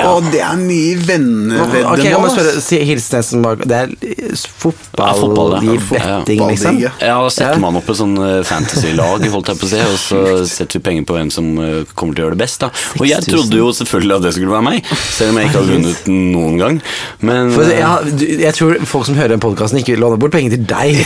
Speaker 1: Å, det er mye venneveddemål.
Speaker 2: Ok, jeg må
Speaker 1: ass.
Speaker 2: spørre, si- hilsen en som bak Det er eh, s-
Speaker 3: Ja, fotball,
Speaker 2: fotball
Speaker 3: ja.
Speaker 2: i
Speaker 3: Ja,
Speaker 2: betting,
Speaker 1: fotball,
Speaker 2: liksom?
Speaker 1: ja.
Speaker 3: Ja, da setter
Speaker 2: Ja.
Speaker 3: man opp et sånn eh, fantasy-lag, holdt jeg på å si, og så setter vi penger på hvem som eh, kommer til å gjøre det best. da Og jeg
Speaker 2: 6000.
Speaker 3: trodde jo selvfølgelig at det skulle være meg, selv om jeg ikke har vunnet noen gang. Men
Speaker 2: For,
Speaker 3: eh,
Speaker 2: ja, du, jeg tror folk som hører den podkasten, ikke vil låne bort penger til (laughs) deg.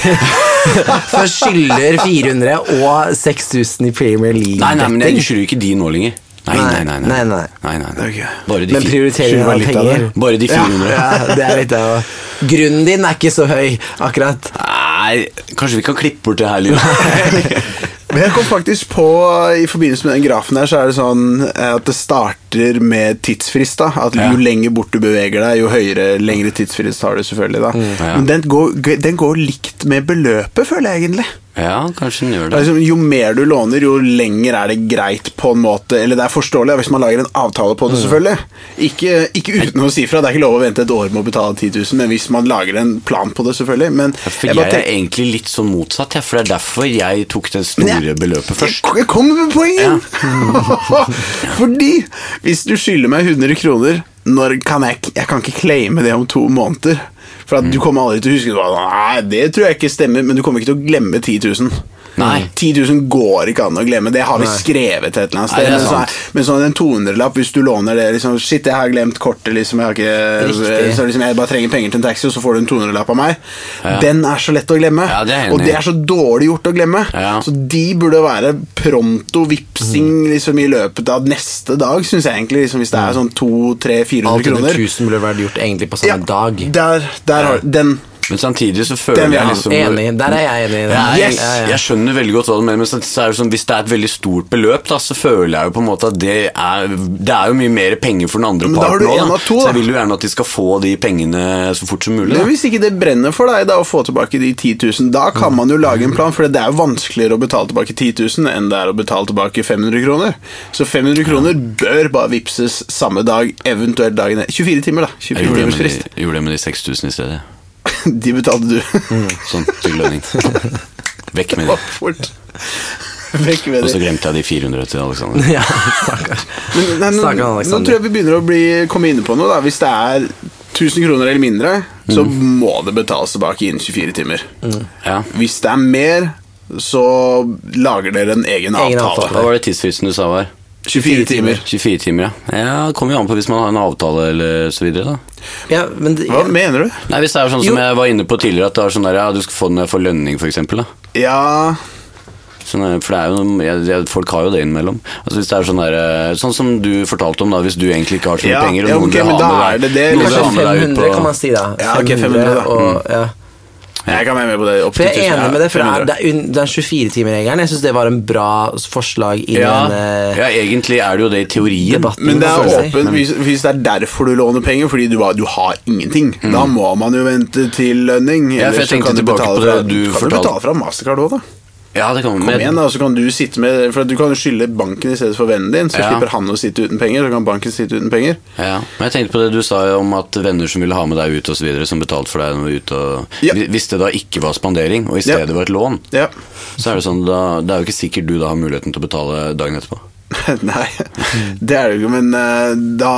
Speaker 2: For skylder 400 og 6000 i Premier
Speaker 3: Nei, nei, men jeg
Speaker 2: League-betting.
Speaker 3: skylder ikke de nå lenger. Nei, nei, nei. nei,
Speaker 2: Nei, nei.
Speaker 3: Nei, nei, nei.
Speaker 1: Ok.
Speaker 3: Bare de
Speaker 2: Men
Speaker 3: fi-
Speaker 2: prioriteringen
Speaker 1: skylder
Speaker 2: av
Speaker 1: meg litt av
Speaker 2: penger
Speaker 1: det.
Speaker 3: Bare de 400.
Speaker 2: ja, det er litt det òg. Grunnen din er ikke så høy, akkurat.
Speaker 3: Nei, kanskje vi kan klippe bort det her,
Speaker 2: (laughs)
Speaker 3: Lina.
Speaker 1: Men jeg kom faktisk på, I forbindelse med den grafen der, så er det sånn eh, at det starter med tidsfrist. da At
Speaker 3: Ja.
Speaker 1: Jo lenger bort du beveger deg, jo høyere, lengre tidsfrist har du. selvfølgelig da
Speaker 3: Mm. Ja.
Speaker 1: Men den går, den går likt med beløpet, føler jeg egentlig.
Speaker 3: ja, kanskje den gjør
Speaker 1: Det
Speaker 2: Altså,
Speaker 3: det.
Speaker 1: er liksom, jo mer du låner, jo lenger er det greit på en måte Eller det er forståelig da, hvis man lager en avtale
Speaker 3: Mm.
Speaker 1: på det, selvfølgelig. Ikke, ikke uten å si fra. Det er ikke lov å vente et år med å betale 10 000, men hvis man lager en plan på det, selvfølgelig. Men
Speaker 3: Ja, For
Speaker 1: jeg
Speaker 3: jeg,
Speaker 1: bare
Speaker 3: er
Speaker 1: tenker-
Speaker 3: egentlig litt sånn motsatt, jeg, for det er derfor jeg tok det
Speaker 1: Men
Speaker 3: store beløpet først.
Speaker 1: Jeg kommer med poenget! (laughs) Fordi hvis du skylder meg 100 kroner når kan jeg, jeg kan ikke claime det om to måneder. For at du
Speaker 3: Mm.
Speaker 1: kommer aldri til å huske det. Nei, det tror jeg ikke stemmer, men du kommer ikke til å glemme 10 000.
Speaker 3: Nei.
Speaker 1: 10 000 går ikke an å glemme, det har vi
Speaker 2: Nei.
Speaker 1: skrevet et eller
Speaker 3: Nei,
Speaker 1: annet sted.
Speaker 3: det er
Speaker 1: men,
Speaker 3: sant.
Speaker 1: sånn, men sånn en 200-lapp, hvis du låner det liksom, Shit, jeg har glemt kortet, liksom, jeg, har ikke,
Speaker 2: Riktig.
Speaker 1: så liksom, jeg bare trenger penger til en taxi, og så får du en 200-lapp av meg. Den er så lett å glemme,
Speaker 3: Ja, det er jeg enig
Speaker 1: og
Speaker 3: i.
Speaker 1: det er så dårlig gjort å glemme.
Speaker 3: Ja. Mm.
Speaker 1: Så de burde være pronto vipsing liksom, i løpet av neste dag, syns jeg egentlig. Liksom, hvis det er sånn 200-400
Speaker 2: Alt under
Speaker 1: kroner.
Speaker 2: 1000 burde vært gjort egentlig på
Speaker 1: Ja,
Speaker 2: samme dag.
Speaker 1: Der, der har Den.
Speaker 3: Men samtidig så
Speaker 1: Den
Speaker 3: føler
Speaker 1: vil jeg
Speaker 3: jeg
Speaker 1: liksom-
Speaker 3: liksom
Speaker 2: Enig. Der er jeg enig. i det.
Speaker 3: Jeg,
Speaker 1: Yes!
Speaker 2: Ja, ja.
Speaker 3: jeg skjønner veldig godt hva du mener, men så er det sånn, hvis det er et veldig stort beløp, da, så føler jeg jo på en måte at det er, det er jo mye mer penger for den andre
Speaker 1: Men da har
Speaker 3: parten
Speaker 1: du
Speaker 3: også,
Speaker 1: en av to,
Speaker 3: Så
Speaker 1: da.
Speaker 3: jeg vil jo gjerne at de skal få de pengene så fort som mulig.
Speaker 1: Men
Speaker 3: Da.
Speaker 1: hvis ikke det brenner for deg da, å få tilbake de 10 000, da kan
Speaker 3: Mm.
Speaker 1: man jo lage en plan, for det er jo vanskeligere å betale tilbake 10 000 enn det er å betale tilbake 500 kroner. Så 500 kroner bør bare vipses samme dag, eventuelt dagen etter. 24 timer, da.
Speaker 3: Jeg
Speaker 1: 24
Speaker 3: gjorde det,
Speaker 1: timers
Speaker 3: med
Speaker 1: frist. (laughs)
Speaker 3: de, jeg gjorde det med de 6000 i stedet.
Speaker 1: De betalte du. (laughs)
Speaker 3: Sånn, til lønning. Vekk med de.
Speaker 1: Fort. Vekk med
Speaker 3: Og så
Speaker 1: det.
Speaker 3: glemte jeg de 400 til Alexander.
Speaker 2: (laughs) Ja, stakkars.
Speaker 1: Men, nei, nå,
Speaker 2: Stakkars
Speaker 1: nå
Speaker 2: Alexander.
Speaker 1: tror jeg vi begynner å bli, komme inne på noe, da. Hvis det er 1000 kroner eller mindre, så
Speaker 2: Mm.
Speaker 1: må det betales tilbake innen 24 timer.
Speaker 3: Ja.
Speaker 1: Hvis det er mer, så lager dere en egen, avtale.
Speaker 2: avtale.
Speaker 3: Hva var det tidsfristen du sa var?
Speaker 1: 24 timer.
Speaker 3: 24 timer, ja. ja det kommer jo an på hvis man har en avtale eller så videre, da.
Speaker 2: Ja, men det,
Speaker 1: Hva mener du?
Speaker 3: Nei, Hvis det er sånn
Speaker 2: Jo.
Speaker 3: som jeg var inne på tidligere, at det er sånn der, ja, du skal få den når jeg får lønning, for eksempel, da.
Speaker 1: Ja
Speaker 3: Sånn, eh, for det er jo, noe- jeg, jeg, folk har jo det innimellom. Altså, hvis det er sånn, der, eh, sånn som du fortalte om, da, hvis du egentlig ikke har så mye
Speaker 1: Ja,
Speaker 3: penger, og
Speaker 1: ja,
Speaker 3: noen
Speaker 1: ok,
Speaker 3: vil
Speaker 1: men
Speaker 3: ha
Speaker 1: da
Speaker 3: med
Speaker 1: er det liksom. det.
Speaker 3: noen vil
Speaker 2: kanskje
Speaker 3: ha med deg
Speaker 2: 500,
Speaker 3: ut på
Speaker 2: kan man si, da.
Speaker 1: Ja, ok, 500, da.
Speaker 2: Og, ja.
Speaker 1: Jeg kan være med på det. Opp
Speaker 2: For jeg
Speaker 1: til
Speaker 2: er
Speaker 1: 1000,
Speaker 2: enig
Speaker 1: ja,
Speaker 2: med det, for det er,
Speaker 1: 500.
Speaker 2: det er un- den 24-timeregelen. Jeg syns det var en bra forslag i
Speaker 3: ja,
Speaker 2: den eh,
Speaker 3: ja, egentlig er det jo det i teorien.
Speaker 2: debatten.
Speaker 1: Men det er
Speaker 2: føler jeg.
Speaker 1: åpent hvis, hvis det er derfor du låner penger, fordi du, bare, du har ingenting.
Speaker 2: Mm.
Speaker 1: Da må man jo vente til lønning.
Speaker 3: Ja, for jeg
Speaker 1: ellers så
Speaker 3: tenkte
Speaker 1: kan du
Speaker 3: tilbake
Speaker 1: betale
Speaker 3: på det du
Speaker 1: fra- Kan du
Speaker 3: fortalte.
Speaker 1: betale fra Mastercard òg, da?
Speaker 3: Ja, det kan
Speaker 1: Kom
Speaker 3: men-
Speaker 1: igjen, da, så kan du sitte med For du kan jo skylde banken i stedet for vennen din, så
Speaker 3: Ja.
Speaker 1: slipper han å sitte uten penger, så kan banken sitte uten penger.
Speaker 3: Ja, men jeg tenkte på det du sa om at venner som ville ha med deg ut og så videre, som betalte for deg når du var ute og
Speaker 1: Ja.
Speaker 3: Hvi- Hvis det da ikke var spandering, og i
Speaker 1: Ja.
Speaker 3: stedet var et lån,
Speaker 1: Ja. (laughs)
Speaker 3: så er det sånn da, Det er jo ikke sikkert du da har muligheten til å betale dagen etterpå.
Speaker 1: Nei, det er det jo ikke, men eh, da,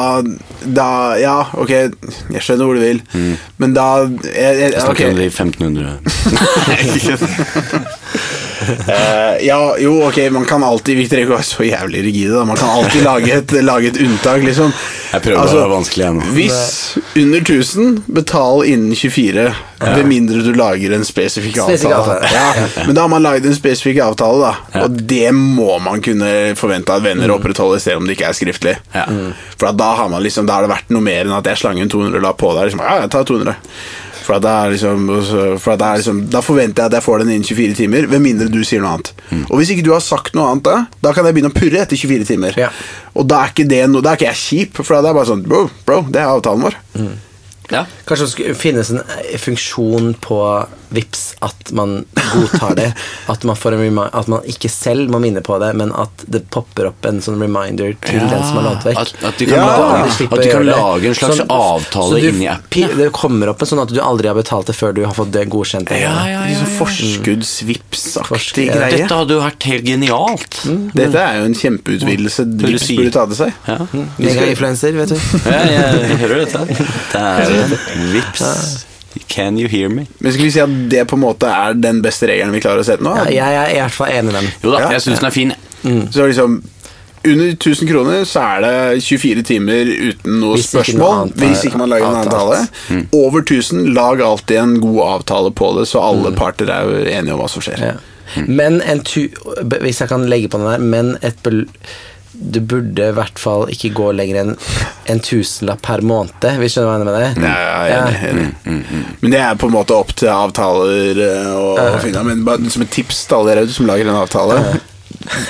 Speaker 1: da Ja, ok, jeg skjønner hvor du vil,
Speaker 3: Mm.
Speaker 1: men da jeg, jeg,
Speaker 3: Jeg snakker
Speaker 1: ok.
Speaker 3: om de 1500
Speaker 1: Eh, ja, jo, ok, man kan alltid Vi trenger ikke å være så jævlig rigide, da. Man kan alltid lage et, (laughs) lage et unntak, liksom.
Speaker 3: Jeg prøver å være vanskelig her nå.
Speaker 1: Hvis under 1000, betal innen 24. Med mindre du lager en spesifikk
Speaker 2: Spesifikk
Speaker 1: avtale.
Speaker 2: avtale.
Speaker 1: Ja, men da har man lagd en spesifikk avtale, da. Og det må man kunne forvente at venner opprettholder, selv om det ikke er skriftlig.
Speaker 3: Ja. Mm.
Speaker 1: For at da har man liksom Da har det vært noe mer enn at jeg slang en 200-lapp på deg. Liksom, ja, jeg tar 200. For at da er liksom, og så- for at da er liksom Da forventer jeg at jeg får den innen 24 timer, med mindre du sier noe annet. Og hvis ikke du har sagt noe annet da, da kan jeg begynne å purre etter 24 timer.
Speaker 2: Ja.
Speaker 1: Og da er ikke det noe Da er ikke jeg kjip, for da er det bare sånn Bro, bro det er avtalen vår.
Speaker 2: Mm.
Speaker 3: Ja.
Speaker 2: Kanskje det skulle finnes en eh, funksjon på Vips at man godtar
Speaker 3: (laughs)
Speaker 2: det. At man, får en remi- at man ikke selv må minne på det, men at det popper opp en sånn reminder til den som har lånt vekk.
Speaker 3: At, at de kan,
Speaker 1: Ja.
Speaker 2: At de
Speaker 3: lage,
Speaker 2: slipper
Speaker 3: at de kan
Speaker 2: å gjøre det.
Speaker 3: lage en slags
Speaker 2: Sånn-
Speaker 3: avtale
Speaker 2: så du-
Speaker 3: inni appen.
Speaker 2: ja, Det kommer opp en sånn at du aldri har betalt det før du har fått det godkjent.
Speaker 1: Sånn
Speaker 2: Forsk-
Speaker 1: Forskuddsvipsaktig
Speaker 2: ja.
Speaker 1: greie.
Speaker 3: Dette hadde jo vært helt genialt.
Speaker 1: Dette er jo en kjempeutvidelse
Speaker 3: du
Speaker 1: Vips
Speaker 3: si?
Speaker 1: burde ta til seg.
Speaker 3: Ja.
Speaker 2: Megainfluencer, vet
Speaker 3: (laughs)
Speaker 2: du.
Speaker 3: Ja, jeg hører dette. (laughs) Det er vips. Can you hear me?
Speaker 1: Men skulle vi si at det på en måte er den beste regelen vi klarer å sette nå?
Speaker 2: Ja, jeg er i hvert fall enig i den.
Speaker 3: Jo da,
Speaker 1: Ja.
Speaker 3: jeg syns den er fin.
Speaker 1: Så liksom under 1000 kroner så er det 24 timer uten noe
Speaker 2: Hvis ikke noe
Speaker 1: spørsmål.
Speaker 2: annet er
Speaker 1: hvis ikke man lager en avtale.
Speaker 2: avtalt.
Speaker 1: Over 1000, lag alltid en god avtale på det, så alle parter er jo enige om hva som skjer.
Speaker 2: Mm. Ja.
Speaker 1: Mm.
Speaker 2: Men en tu... b- Hvis jeg kan legge på den der, men et bel... Du burde i hvert fall ikke gå lenger enn en tusenlapp per måned. Hvis du skjønner hva jeg mener med det?
Speaker 1: Ja, ja, enig, enig.
Speaker 3: Mm,
Speaker 1: Men det er på en måte opp til avtaler eh, å å finne Men bare som et tips til alle dere som lager en avtale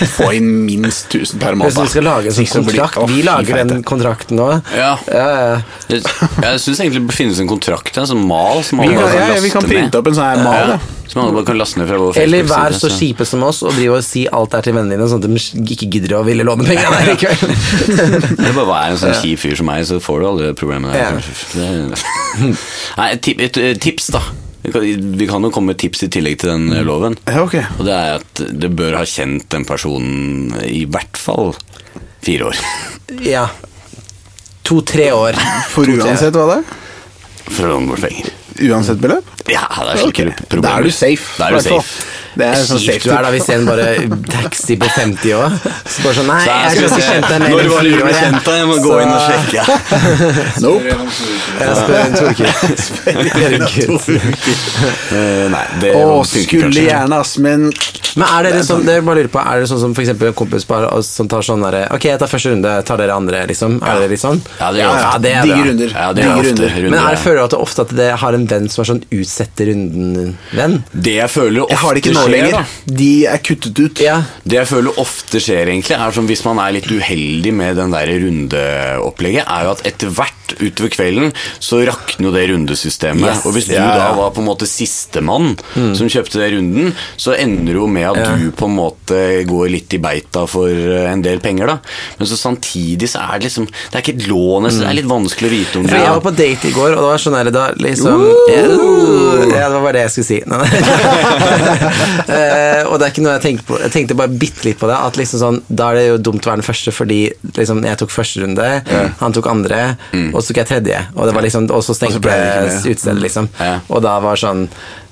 Speaker 1: Få inn minst 1000 per måned.
Speaker 2: Hvis vi skal lage en sånn
Speaker 1: Ikke så blir-
Speaker 2: kontrakt
Speaker 1: Å,
Speaker 2: Vi
Speaker 1: fy
Speaker 2: lager
Speaker 1: feite.
Speaker 2: den kontrakten nå.
Speaker 3: Ja.
Speaker 2: Ja, ja.
Speaker 3: Jeg, jeg syns egentlig det finnes en kontrakt, en sånn mal, som
Speaker 1: Vi
Speaker 3: alle
Speaker 1: kan,
Speaker 3: bare
Speaker 1: ja,
Speaker 3: kan
Speaker 1: ja, vi kan
Speaker 3: laste
Speaker 1: printe
Speaker 3: ned.
Speaker 1: opp en sånn her mal,
Speaker 3: Ja,
Speaker 1: da.
Speaker 3: som alle bare kan laste ned fra vår
Speaker 2: Eller vær
Speaker 3: Facebook-side,
Speaker 2: så
Speaker 1: altså.
Speaker 2: kjipe som oss og drive og si alt det er til vennene dine, sånn at de ikke gidder å ville låne penger der likevel.
Speaker 1: (laughs)
Speaker 3: Eller bare vær en sånn kjip fyr som meg, så får du aldri problemene
Speaker 2: Ja.
Speaker 3: der. Det- (laughs) Nei, et, tip, et eh, tips, da. Vi kan, vi kan jo komme med tips i tillegg til
Speaker 1: Mm.
Speaker 3: den eh, loven.
Speaker 1: Ja, ok.
Speaker 3: Og det er at det bør ha kjent den personen i hvert fall fire år. (laughs)
Speaker 2: Ja. To-tre år.
Speaker 1: For
Speaker 2: To-tre år.
Speaker 1: uansett hva det er?
Speaker 3: For å låne bort penger.
Speaker 1: Uansett beløp?
Speaker 3: Ja, det er
Speaker 1: Ok.
Speaker 3: slike problemer.
Speaker 1: Da er du safe.
Speaker 3: Da er du
Speaker 1: hvertfall.
Speaker 3: safe.
Speaker 1: Det er sånn
Speaker 2: Kjipt
Speaker 1: safe
Speaker 2: du er da hvis en bare taxi på 50 år. Så bare sånn, nei,
Speaker 3: Så
Speaker 2: jeg skulle ikke kjent deg mer
Speaker 3: Når
Speaker 2: enn
Speaker 3: var det du
Speaker 2: fire
Speaker 3: ble
Speaker 2: år. jeg.
Speaker 3: kjent da? Jeg må gå inn og
Speaker 1: (laughs)
Speaker 3: sjekke.
Speaker 1: Nope.
Speaker 2: Jeg spør en Torkild.
Speaker 3: Eh, nei, det
Speaker 1: Å,
Speaker 3: funker
Speaker 1: skulle
Speaker 3: kanskje.
Speaker 1: gjerne, ass, men
Speaker 2: Men er dere sånn, dere bare lurer på, er dere sånn som for eksempel en kompis bare, og- som tar sånn derre Ok, jeg tar første runde, tar dere andre, liksom? Er dere litt sånn?
Speaker 3: Ja, det gjør
Speaker 1: Ja,
Speaker 3: jeg
Speaker 1: ja,
Speaker 3: ofte.
Speaker 2: det er
Speaker 1: digge
Speaker 2: bra.
Speaker 1: runder.
Speaker 3: Ja, det gjør
Speaker 1: Digge
Speaker 3: jeg ofte.
Speaker 1: runder.
Speaker 2: Men er det,
Speaker 3: ja.
Speaker 2: føler du at det ofte at dere har en venn som er sånn utsette runden-venn?
Speaker 3: Det jeg føler ofte
Speaker 1: Jeg har det ikke nå
Speaker 3: skjer,
Speaker 1: lenger.
Speaker 3: da.
Speaker 1: De er kuttet ut.
Speaker 2: Ja.
Speaker 3: Det jeg føler ofte skjer, egentlig, er som hvis man er litt uheldig med den der rundeopplegget, er jo at etter hvert utover kvelden så rakner jo det rundesystemet.
Speaker 2: Yes.
Speaker 3: og hvis du
Speaker 1: Ja, ja. Mm.
Speaker 3: da var på en måte sistemann som kjøpte den runden, så ender det jo med at du på en måte går litt i beita for eh, en del penger, da. Men så samtidig så er det liksom Det er ikke et lån, så det
Speaker 1: Mm.
Speaker 3: er litt vanskelig å vite om
Speaker 2: For jeg var på date i går, og det var sånn der, da liksom ja, ja, det var bare det jeg skulle si. Nei, nei. (laughs) Eh, og det er ikke noe jeg tenkte på. Jeg tenkte bare bitte litt på det. At liksom sånn, Da er det jo dumt å være den første, fordi liksom, jeg tok første runde, han tok andre, og så tok jeg tredje. Og det var liksom Og så
Speaker 1: Og så
Speaker 2: stengte
Speaker 1: ble det ikke mer.
Speaker 2: utestedet, liksom.
Speaker 3: Ja.
Speaker 2: Og da var sånn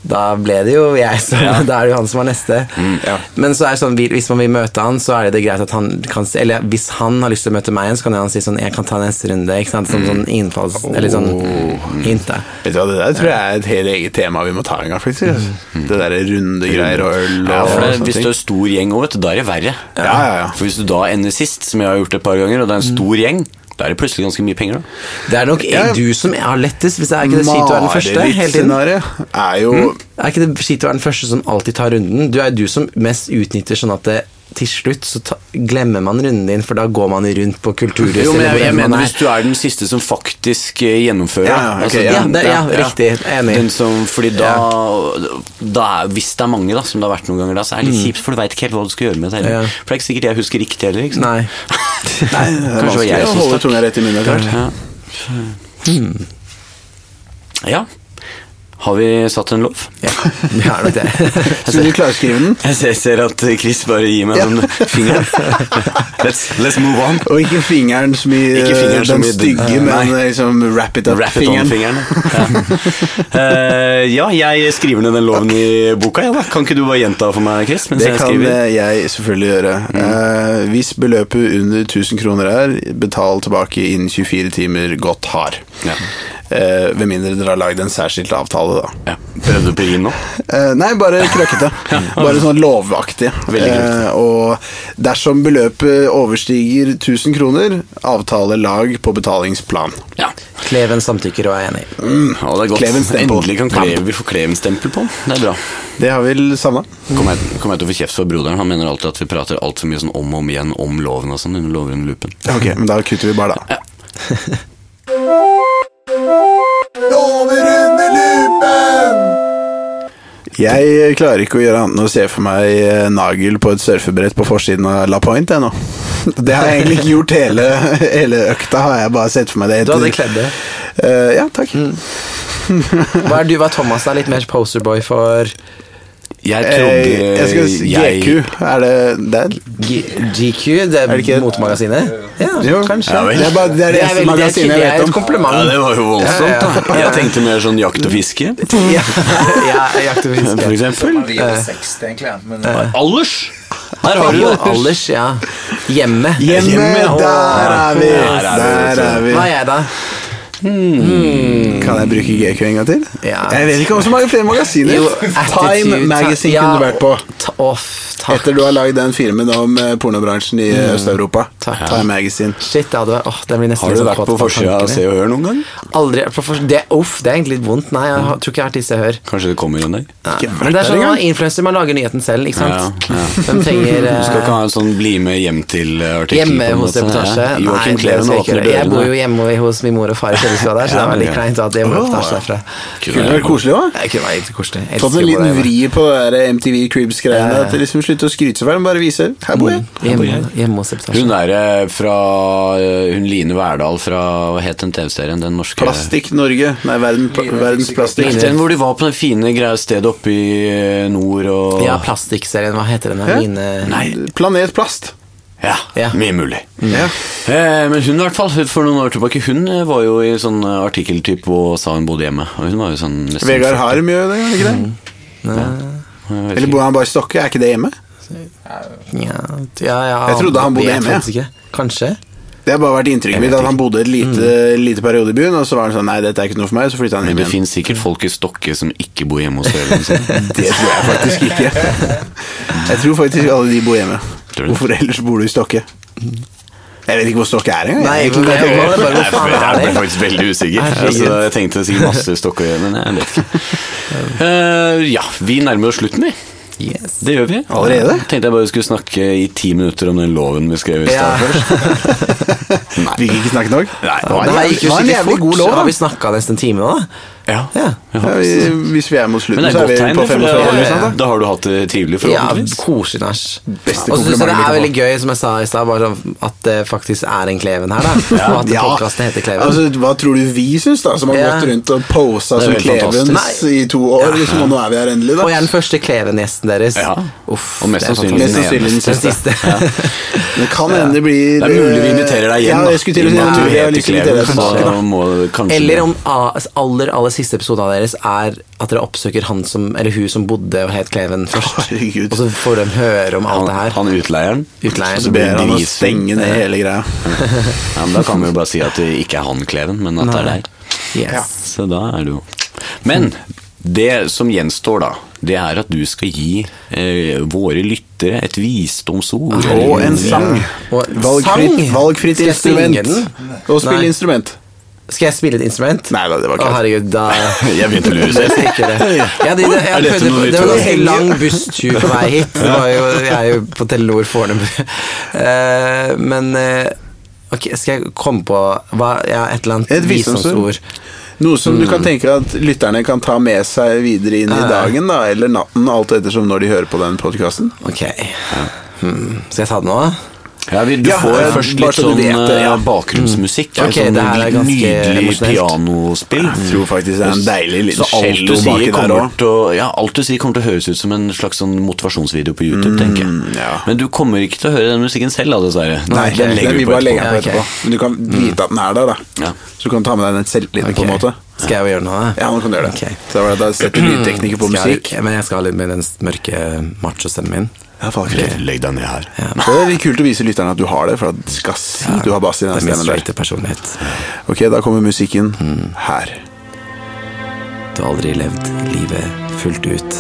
Speaker 2: da ble det jo jeg som (laughs) Da er det jo han som er neste.
Speaker 3: Mm,
Speaker 1: ja.
Speaker 2: Men så er det sånn, vi- hvis man vil møte han, så er det det greit at han kan si- Eller hvis han har lyst til å møte meg igjen, så kan han si sånn Jeg kan ta neste runde. Ikke sant?
Speaker 3: Mm.
Speaker 2: Som sånn innfalls... Eller sånn
Speaker 3: Oh,
Speaker 2: hint, da.
Speaker 1: Vet du hva, Det der tror jeg er et helt eget tema vi må ta en gang. faktisk altså. Det derre runde greier og øl og
Speaker 3: Ja, for det,
Speaker 1: sånne
Speaker 3: Hvis
Speaker 1: ting.
Speaker 3: du er stor gjeng også, vet du, da er det verre.
Speaker 1: Ja, ja, Mm. ja.
Speaker 3: For hvis du da ender sist, som jeg har gjort et par ganger, og det er en stor gjeng, da er det plutselig ganske mye penger. da.
Speaker 2: Det er nok du som har lettest, hvis det er ikke det kjipt å være den første. hele tiden.
Speaker 1: Marerittscenario er jo
Speaker 3: Mm.
Speaker 2: Er ikke det kjipt å være den første som alltid tar runden? Du er jo du som mest utnytter sånn at det til slutt så ta, glemmer man runden din, for da går man rundt på kulturhuset.
Speaker 3: Jo, men
Speaker 2: eller hvor
Speaker 3: jeg, jeg
Speaker 2: enn man
Speaker 3: mener
Speaker 2: er.
Speaker 3: hvis du er den siste som faktisk eh, gjennomfører.
Speaker 1: Ja, ja, ok, ja,
Speaker 3: den-
Speaker 2: det- ja, riktig, enig.
Speaker 3: Den som, fordi da, da er, Hvis det er mange, da, som det har vært noen ganger, da, så er det litt kjipt, for du veit ikke helt hva du skal gjøre med det. heller.
Speaker 2: Ja.
Speaker 3: For det er ikke sikkert jeg husker riktig heller. Ikke sant?
Speaker 2: Nei.
Speaker 3: (laughs)
Speaker 1: Nei, det er
Speaker 3: Kanskje det var
Speaker 1: vanskelig
Speaker 3: jeg
Speaker 1: å
Speaker 3: som
Speaker 1: holde
Speaker 3: stakk.
Speaker 1: (laughs)
Speaker 3: Mm.
Speaker 1: tunga rett i munnen. etter hvert.
Speaker 3: Ja. ja. Har vi satt en lov?
Speaker 2: Ja, det er nok det.
Speaker 1: Skulle du klarskrive den?
Speaker 3: Jeg ser, jeg ser at Chris bare gir meg den (laughs) fingeren. Let's, let's move on.
Speaker 1: Og ikke fingeren som i eh,
Speaker 3: Ikke fingeren
Speaker 1: den
Speaker 3: som i den-
Speaker 1: stygge,
Speaker 3: Nei.
Speaker 1: men liksom wrap it
Speaker 3: Wrap it
Speaker 1: up-fingeren.
Speaker 3: on-fingeren. Ja. Eh, ja, jeg skriver ned den loven i boka. Ja, da. Kan ikke du bare gjenta for meg, Chris? Mens
Speaker 1: Det
Speaker 3: jeg
Speaker 1: kan
Speaker 3: skriver? Mm.
Speaker 1: eh, jeg selvfølgelig gjøre. Eh, hvis beløpet under 1000 kroner er, betal tilbake innen 24 timer godt hard.
Speaker 3: Ja.
Speaker 1: Eh, ved mindre dere har lagd en særskilt avtale, da.
Speaker 3: Ja. Prøvde du på rim nå?
Speaker 1: Eh, nei, bare
Speaker 2: (laughs)
Speaker 1: krøkkete. Bare sånn lovaktig.
Speaker 3: Veldig kult.
Speaker 1: Eh, og dersom beløpet overstiger 1000 kroner, avtale lag på betalingsplan.
Speaker 3: Ja.
Speaker 2: Kleven samtykker og er enig.
Speaker 3: ja, det er godt.
Speaker 1: Klevenstempel.
Speaker 3: Endelig kan Kleven, vi får Kleven-stempel på den. Det er bra.
Speaker 1: Det har vel savna.
Speaker 3: Kommer jeg, kommer jeg til å få kjeft for broderen? Han mener alltid at vi prater altfor mye sånn om og om igjen om loven og sånn under lover under lupen.
Speaker 1: Ok, (laughs) men da kutter vi bare, da. Jeg klarer ikke å gjøre annet enn å se for meg eh, Nagel på et surfebrett på forsiden av La Pointe ennå. (laughs) Det har jeg egentlig ikke gjort hele, (laughs) hele økta, har jeg bare sett for meg det.
Speaker 2: Du hadde kledd det. Mm.
Speaker 1: Eh, ja, takk.
Speaker 2: (laughs) Hva er du, hva er Thomas? Er litt mer poserboy for
Speaker 3: Jeg
Speaker 1: Eh,
Speaker 3: trodde
Speaker 1: jeg skulle si
Speaker 3: jeg-
Speaker 1: GQ, er det der?
Speaker 2: G GQ? Det
Speaker 1: Er det ikke
Speaker 2: er
Speaker 1: et-
Speaker 2: motemagasinet? Ja,
Speaker 1: Jo,
Speaker 2: kanskje.
Speaker 1: Ja, vel. det er bare det, er
Speaker 2: Det er
Speaker 1: det eneste
Speaker 2: veldig- det er
Speaker 1: magasinet jeg
Speaker 2: det er
Speaker 1: vet
Speaker 2: et
Speaker 1: om.
Speaker 2: kompliment.
Speaker 3: Ja, det var jo voldsomt, da. Jeg tenkte mer sånn jakt og fiske,
Speaker 2: Ja, (laughs) jeg jakter
Speaker 1: (laughs)
Speaker 3: for
Speaker 2: fisk.
Speaker 3: eksempel.
Speaker 4: Vi er seks, egentlig, ja, men
Speaker 3: Alders! Her har du det.
Speaker 2: Alders, ja. Hjemme.
Speaker 1: Hjemme,
Speaker 2: Åh.
Speaker 1: der er vi!
Speaker 3: Der er vi, vet
Speaker 1: Der
Speaker 3: du.
Speaker 1: er vi.
Speaker 2: Hva er jeg, da?
Speaker 1: Kan jeg bruke GQ en gang til?
Speaker 2: Ja.
Speaker 1: Jeg vet ikke om så mange flere magasiner.
Speaker 2: Jo,
Speaker 1: Time
Speaker 2: attitude,
Speaker 1: Magazine
Speaker 2: ta-
Speaker 1: kunne du
Speaker 2: ja,
Speaker 1: vært på.
Speaker 2: ta- Off, takk.
Speaker 1: Etter du har lagd den filmen om eh, pornobransjen i eh, Øst-Europa.
Speaker 2: Takk.
Speaker 1: Time Magazine.
Speaker 2: Shit, det hadde vært åh, det blir nesten
Speaker 3: Har du
Speaker 2: litt sånn
Speaker 3: vært
Speaker 2: kåt
Speaker 3: på forsida av
Speaker 2: tankene.
Speaker 3: Se og Hør noen gang?
Speaker 2: Aldri vært på forsida. Det, uff, det er egentlig litt vondt. Nei, jeg har- tror ikke jeg har vært i Se og Hør.
Speaker 3: Kanskje det kommer en dag?
Speaker 2: Nei.
Speaker 1: Ikke vært
Speaker 2: Men det er
Speaker 1: der
Speaker 2: sånn
Speaker 1: engang.
Speaker 2: man er influencer, man lager nyheten selv, ikke sant?
Speaker 3: Ja, ja.
Speaker 2: De trenger
Speaker 3: Du skal
Speaker 2: eh,
Speaker 3: ikke ha en sånn bli med hjem eh, til-artikkel?
Speaker 2: Hjemme hos reportasje.
Speaker 3: Joakim
Speaker 2: Nei, det
Speaker 3: Kleven
Speaker 2: skal jeg ikke
Speaker 3: åpner
Speaker 2: gjøre. Jeg bor jo
Speaker 3: dørene.
Speaker 2: hjemme hos min mor og far i Kjellestua der, så det
Speaker 3: Ja,
Speaker 2: er veldig
Speaker 3: ok.
Speaker 2: kleint at jeg må reportasje derfra.
Speaker 1: Kunne det vært koselig òg.
Speaker 2: Det kunne vært koselig. Jeg
Speaker 1: Fått en
Speaker 2: elsker å bo
Speaker 1: liten
Speaker 2: der hjemme.
Speaker 1: vri på det der MTV Cribs-greiene. At de liksom Slutte å skryte så fælt, men bare vise. Mm. Her bor jeg.
Speaker 2: Hjemme, hjemme hos reportasje.
Speaker 3: Hun der eh, fra eh, Hun Line Verdal fra Hva het den TV-serien? Den norske
Speaker 1: Plastikk Norge. Nei, verden, verdens plastikk.
Speaker 3: Den hvor de var på det fine greia stedet oppe i eh, nord og
Speaker 2: Ja, Plastikkserien, hva heter den? da?
Speaker 1: Hæ?
Speaker 2: Mine
Speaker 3: Nei,
Speaker 1: Planet Plast.
Speaker 3: ja,
Speaker 2: Ja. Mm.
Speaker 3: mye mulig.
Speaker 1: Ja.
Speaker 3: Eh, men hun i hvert fall, hun- for noen år tilbake, hun eh, var jo i sånn eh, artikkeltyp og sa hun bodde hjemme. Og hun var jo sånn nesten 40.
Speaker 1: Vegard Harm gjør det, gjør han ikke det?
Speaker 3: Jeg vet
Speaker 1: Eller
Speaker 3: ikke.
Speaker 1: bor han bare i Stokke? Er ikke det hjemme?
Speaker 2: ja, ja, ja,
Speaker 1: Jeg trodde han bodde
Speaker 2: vet
Speaker 1: hjemme, ja.
Speaker 2: faktisk ikke. Kanskje.
Speaker 1: Det har bare vært inntrykket mitt at han bodde et lite, lite periode i byen, og så var han sånn Nei, dette er ikke noe for meg, så flytta han
Speaker 3: Men
Speaker 1: hjem
Speaker 3: det
Speaker 1: igjen.
Speaker 3: finnes sikkert folk i Stokke som ikke bor hjemme hos foreldrene (laughs) sine.
Speaker 1: Det tror jeg faktisk ikke. Jeg tror faktisk alle de bor hjemme.
Speaker 3: Tror du?
Speaker 1: Hvorfor ellers bor du i Stokke? Jeg vet ikke hvor Stokke er engang.
Speaker 2: Nei,
Speaker 1: jeg.
Speaker 2: men det er bare- bare,
Speaker 3: Nei,
Speaker 2: hvor
Speaker 3: for
Speaker 2: faen er
Speaker 3: Jeg
Speaker 2: det?
Speaker 3: ble faktisk veldig usikker.
Speaker 2: Herregud.
Speaker 3: Altså, jeg tenkte sikkert masse Stokke, men jeg vet ikke. Eh, ja, vi nærmer oss slutten, vi.
Speaker 2: Yes.
Speaker 3: Det gjør vi.
Speaker 1: Allerede?
Speaker 3: Tenkte jeg bare skulle snakke i ti minutter om den loven vi skrev i
Speaker 2: Ja.
Speaker 3: stad først.
Speaker 1: Vi fikk ikke snakket nok.
Speaker 3: Nei,
Speaker 1: var
Speaker 2: Det
Speaker 1: en
Speaker 2: her
Speaker 1: jævlig-
Speaker 2: gikk jo
Speaker 1: var en
Speaker 2: skikkelig
Speaker 1: jævlig
Speaker 2: fort.
Speaker 1: god
Speaker 2: så
Speaker 1: lov, da.
Speaker 2: Har vi snakka nesten en time nå, da?
Speaker 3: Ja.
Speaker 2: Ja.
Speaker 3: Jeg
Speaker 1: Ja,
Speaker 3: håper det.
Speaker 1: vi, hvis vi er mot
Speaker 3: Men
Speaker 1: slutten,
Speaker 3: det er
Speaker 1: så
Speaker 3: et
Speaker 1: er vi
Speaker 3: godt tegn.
Speaker 1: på
Speaker 3: det, for
Speaker 1: 45 eller noe
Speaker 3: det-
Speaker 1: sånt. da.
Speaker 3: Da har du hatt det
Speaker 2: Ja,
Speaker 3: trivelig, forhåpentligvis.
Speaker 2: koselig nach. Og så syns jeg det
Speaker 1: Beste komplimentet vi
Speaker 2: er
Speaker 1: kan
Speaker 2: veldig
Speaker 1: få.
Speaker 2: gøy, som jeg sa i stad, bare sånn at det faktisk er en Kleven her, da. Og at
Speaker 1: (laughs) Ja.
Speaker 2: podkasten heter Kleven.
Speaker 1: Altså, hva tror du vi syns, da? Som har
Speaker 2: Ja.
Speaker 1: gått rundt og
Speaker 3: Det
Speaker 1: posa
Speaker 3: er
Speaker 1: som
Speaker 3: helt
Speaker 1: Klevens
Speaker 2: fantastisk.
Speaker 1: i to år, liksom, og nå er vi her endelig, da.
Speaker 2: og jeg er den første Kleven-gjesten deres.
Speaker 3: Ja.
Speaker 2: Uff,
Speaker 3: Og mest
Speaker 2: det er
Speaker 3: sannsynlig
Speaker 2: fantastisk.
Speaker 1: Mest sannsynlig
Speaker 2: den
Speaker 1: den siste.
Speaker 2: siste.
Speaker 1: Det kan hende det blir eh,
Speaker 3: Det er mulig vi inviterer deg igjen,
Speaker 1: ja,
Speaker 3: da.
Speaker 1: jeg skulle til å
Speaker 3: I
Speaker 1: si
Speaker 3: og med at
Speaker 1: det.
Speaker 3: du
Speaker 1: Vi har
Speaker 3: heter
Speaker 1: lyst til å
Speaker 3: Kleven,
Speaker 1: invitere deg tilbake, da.
Speaker 3: så må kanskje
Speaker 2: (laughs) Eller om a- aller aller siste episode av deres er at dere oppsøker han som, eller hun som bodde og het Kleven først.
Speaker 1: Herregud.
Speaker 2: Og så får de høre om alt det
Speaker 3: han,
Speaker 2: her.
Speaker 3: han utleieren.
Speaker 2: Utleieren.
Speaker 3: Og
Speaker 1: Så
Speaker 3: så blir
Speaker 1: ber
Speaker 3: det
Speaker 1: han å
Speaker 3: grisefri.
Speaker 1: stenge ned hele greia.
Speaker 3: Ja, men da kan vi jo bare si at det ikke er han Kleven, men at det er
Speaker 2: Nei.
Speaker 3: deg.
Speaker 2: Yes.
Speaker 3: Så da er det jo Men det som gjenstår, da, det er at du skal gi eh, våre lyttere et visdomsord.
Speaker 1: Og en sang.
Speaker 2: Og
Speaker 1: Valgfritt,
Speaker 2: sang?
Speaker 1: valgfritt
Speaker 2: Skal jeg synge
Speaker 1: instrument.
Speaker 2: den?
Speaker 1: Og spille
Speaker 2: Nei.
Speaker 1: instrument.
Speaker 2: Skal jeg spille et instrument?
Speaker 1: Nei da, det var
Speaker 2: Å,
Speaker 1: ikke
Speaker 2: herregud, da
Speaker 3: (laughs) Jeg begynte å lure
Speaker 2: Jeg
Speaker 3: selv.
Speaker 2: stikker det. Ja, de, de,
Speaker 3: Er
Speaker 2: jeg
Speaker 3: dette
Speaker 2: prøvde,
Speaker 3: noe nytt
Speaker 2: det
Speaker 3: for
Speaker 2: var
Speaker 3: deg?
Speaker 2: ganske lang busstur på vei hit. Det var jo, jeg er jo på Telenor Fornebu. Eh, men eh, ok, skal jeg komme på hva, ja, et eller
Speaker 1: Et
Speaker 2: annet
Speaker 1: visdomsord.
Speaker 2: visdomsord?
Speaker 1: Noe som
Speaker 3: Mm.
Speaker 1: du kan tenke at lytterne kan ta med seg videre inn i dagen da, eller natten, alt ettersom når de hører på den podkasten.
Speaker 2: Ok. Hmm. Skal jeg ta det nå?
Speaker 3: Ja, vi, du
Speaker 1: Ja,
Speaker 3: får
Speaker 1: eh,
Speaker 3: først
Speaker 1: bare
Speaker 3: litt
Speaker 1: så du
Speaker 3: sånn
Speaker 1: vet det,
Speaker 3: eh,
Speaker 1: ja.
Speaker 3: bakgrunnsmusikk.
Speaker 2: Ok,
Speaker 3: sånn
Speaker 2: det her er ganske
Speaker 3: nydelig
Speaker 2: emosjonelt.
Speaker 3: pianospill.
Speaker 1: Jeg tror faktisk det er en deilig liten
Speaker 3: Så alt du,
Speaker 1: cello
Speaker 3: sier
Speaker 1: baki der
Speaker 3: kommer
Speaker 1: også.
Speaker 3: til, å- ja, alt du sier kommer til å høres ut som en slags sånn motivasjonsvideo på YouTube, tenker jeg.
Speaker 1: Mm, ja.
Speaker 3: Men du kommer ikke til å høre den musikken selv, da, dessverre.
Speaker 1: Nei,
Speaker 3: den
Speaker 1: den
Speaker 3: legger
Speaker 1: vi
Speaker 3: du på
Speaker 1: bare legger
Speaker 3: etterpå.
Speaker 1: den på etterpå. Men du kan vite at den er der, da.
Speaker 3: Mm. Ja.
Speaker 1: Så du kan ta med deg den selvtilliten, på en
Speaker 2: Ok.
Speaker 1: måte.
Speaker 2: Skal jeg jo gjøre noe? da?
Speaker 1: Ja, nå kan du gjøre det.
Speaker 2: Ok.
Speaker 1: Så det var det at jeg setter
Speaker 3: Mm.
Speaker 1: lydteknikker på
Speaker 2: Skal jeg-
Speaker 1: musikk.
Speaker 2: Men jeg skal ha litt med den mørke machostemmen min.
Speaker 1: Ja, faen, ikke
Speaker 3: Legg- Legg deg ned her.
Speaker 2: (laughs)
Speaker 1: det. Det er litt kult å vise lytterne at du har det, for at skal si du har bass i den
Speaker 2: Det er min
Speaker 1: stemmen der.
Speaker 2: straighte personlighet.
Speaker 1: Ok, da kommer musikken
Speaker 2: Mm.
Speaker 1: her.
Speaker 2: Du har aldri levd livet fullt ut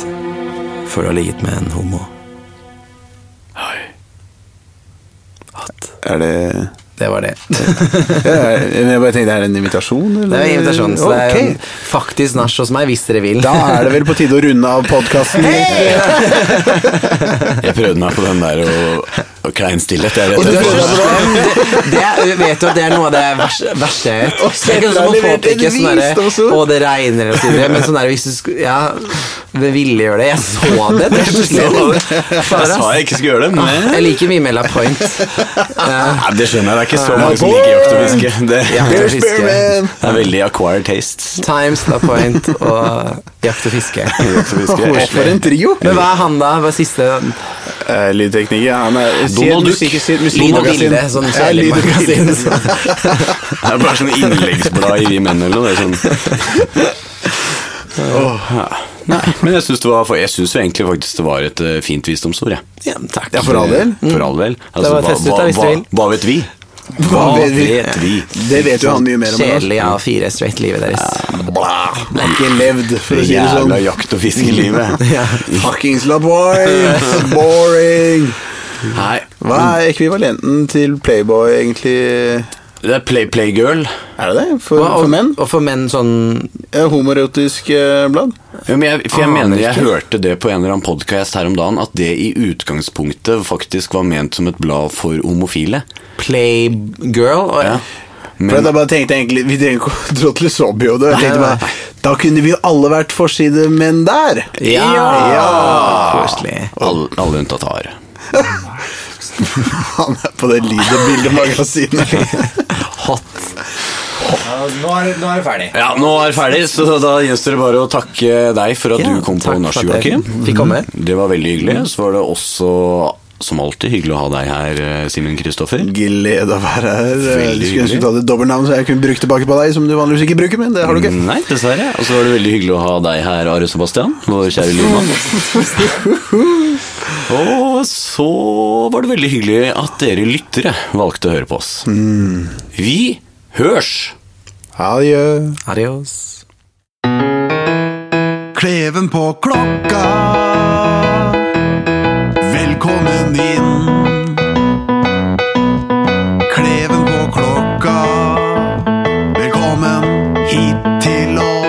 Speaker 2: før du har ligget med en homo. Hatt.
Speaker 1: Er det
Speaker 2: Det var det.
Speaker 1: ja, men Jeg bare tenkte, er det en invitasjon, eller?
Speaker 2: Det er invitasjon, så det er
Speaker 1: Ok.
Speaker 2: jo faktisk nach hos meg, hvis dere vil.
Speaker 1: Da
Speaker 2: (laughs)
Speaker 1: er det vel på tide å runde av podkasten.
Speaker 3: Jeg prøvde meg på den der og, og klein stillhet. Jeg
Speaker 2: Og
Speaker 3: vet
Speaker 2: du er
Speaker 3: det.
Speaker 2: så slem! Det er, vet du at det er noe av det verste, verste jeg vet.
Speaker 1: Og
Speaker 2: Det er ikke
Speaker 1: Petter
Speaker 2: sånn
Speaker 1: har
Speaker 2: å
Speaker 1: levert
Speaker 2: påpeke
Speaker 1: et
Speaker 2: sånn
Speaker 1: vist også.
Speaker 2: derre Og det regner og så videre, men sånn der hvis du skulle Ja, det ville gjøre det. Jeg så det, det er så slem.
Speaker 3: Jeg
Speaker 2: Fader,
Speaker 3: sa
Speaker 2: ass.
Speaker 3: jeg ikke skulle gjøre det, men
Speaker 2: Jeg liker mye Mela Point. Eh, Ja,
Speaker 3: Nei, det skjønner jeg. Det er ikke så
Speaker 1: mange som liker jakt og fiske.
Speaker 3: Det,
Speaker 2: Ja.
Speaker 1: Bear
Speaker 2: Fiske.
Speaker 1: Spearman!
Speaker 3: er veldig acquired tastes.
Speaker 2: Times, La Point og Jakt og fiske.
Speaker 1: Å, For en trio!
Speaker 2: Men hva er han, da? Hva er siste
Speaker 1: Eh, Lydtekniker. ja, Han er si
Speaker 3: Donald
Speaker 1: et
Speaker 3: Duck.
Speaker 1: musikk- si et
Speaker 2: Lyd og
Speaker 1: musikkmagasin.
Speaker 2: bilde, sånn
Speaker 1: Ja, lyd og
Speaker 2: kjærlighetsmagasin. (laughs)
Speaker 1: bilde.
Speaker 2: så-
Speaker 3: Det er bare sånn innleggsblad i Vi menn eller noe. Det er sånn. Åh, ja. Nei, men jeg syns det var Jeg synes jo egentlig faktisk det var et eh, fint visdomsord, jeg.
Speaker 2: Ja, takk.
Speaker 1: Ja, for all del.
Speaker 3: For all del. Altså,
Speaker 2: var
Speaker 3: hva,
Speaker 2: testet
Speaker 3: hva,
Speaker 2: da, hvis du
Speaker 3: hva,
Speaker 2: vil.
Speaker 3: hva vet vi?
Speaker 1: Hva vet vi? Det vet jo han mye mer om. enn oss.
Speaker 2: Kjedelig A4, straight-livet deres.
Speaker 1: Bla. Ikke levd, for å si det sånn.
Speaker 3: Jævla jakt- og fiskelivet.
Speaker 2: Ja.
Speaker 1: Fuckings Lavoy!
Speaker 2: (laughs)
Speaker 1: Boring!
Speaker 3: (laughs) Nei,
Speaker 1: Hva er ekvivalenten til Playboy, egentlig?
Speaker 3: det er play, Playgirl.
Speaker 1: Er det det? For,
Speaker 2: Og-
Speaker 1: for menn?
Speaker 2: Og for menn sånn
Speaker 1: Eh, Homoerotisk eh, blad?
Speaker 3: Ja, men jeg, for jeg
Speaker 2: Aner
Speaker 3: mener jeg
Speaker 2: ikke.
Speaker 3: hørte det på en eller annen podkast her om dagen, at det i utgangspunktet faktisk var ment som et blad for homofile.
Speaker 2: Playgirl? og-
Speaker 3: Ja.
Speaker 1: For
Speaker 3: Men
Speaker 1: at jeg bare tenkte egentlig, Vi trenger ikke å (laughs) dra til Sobjod. Jeg tenkte
Speaker 2: Nei, nei.
Speaker 1: bare, Da kunne vi jo alle vært forsidemenn der!
Speaker 2: Ja!
Speaker 1: Ja.
Speaker 2: Koselig.
Speaker 3: alle, alle unntatt har.
Speaker 1: Han er på det lyd- og bildemagasinet.
Speaker 2: Hot.
Speaker 4: Ja, nå, er, det- nå er det ferdig.
Speaker 3: Ja, nå er det ferdig, så da gjenstår det bare å takke deg for at
Speaker 2: Ja,
Speaker 3: du kom på
Speaker 2: takk
Speaker 3: nachspiel,
Speaker 2: for at jeg
Speaker 3: Joakim.
Speaker 2: fikk komme.
Speaker 3: Det var veldig hyggelig. Så var det også, som alltid, hyggelig å ha deg her, eh, Simen Kristoffer.
Speaker 1: Glede å være her.
Speaker 3: Veldig
Speaker 1: Jeg skulle ønske
Speaker 3: hyggelig.
Speaker 1: du hadde dobbeltnavn, så jeg kunne brukt tilbake på deg, som du vanligvis ikke bruker, men det har du ikke.
Speaker 3: Nei, dessverre. Og så var det veldig hyggelig å ha deg her, Are Sebastian, vår
Speaker 1: (laughs)
Speaker 3: kjære lydmann. Og så var det veldig hyggelig at dere lyttere valgte å høre på oss.
Speaker 1: Mm.
Speaker 3: Vi hørs!
Speaker 1: Adjø.
Speaker 2: Adios.
Speaker 5: Kleven på klokka. Velkommen inn. Kleven på klokka. Velkommen hit til oss.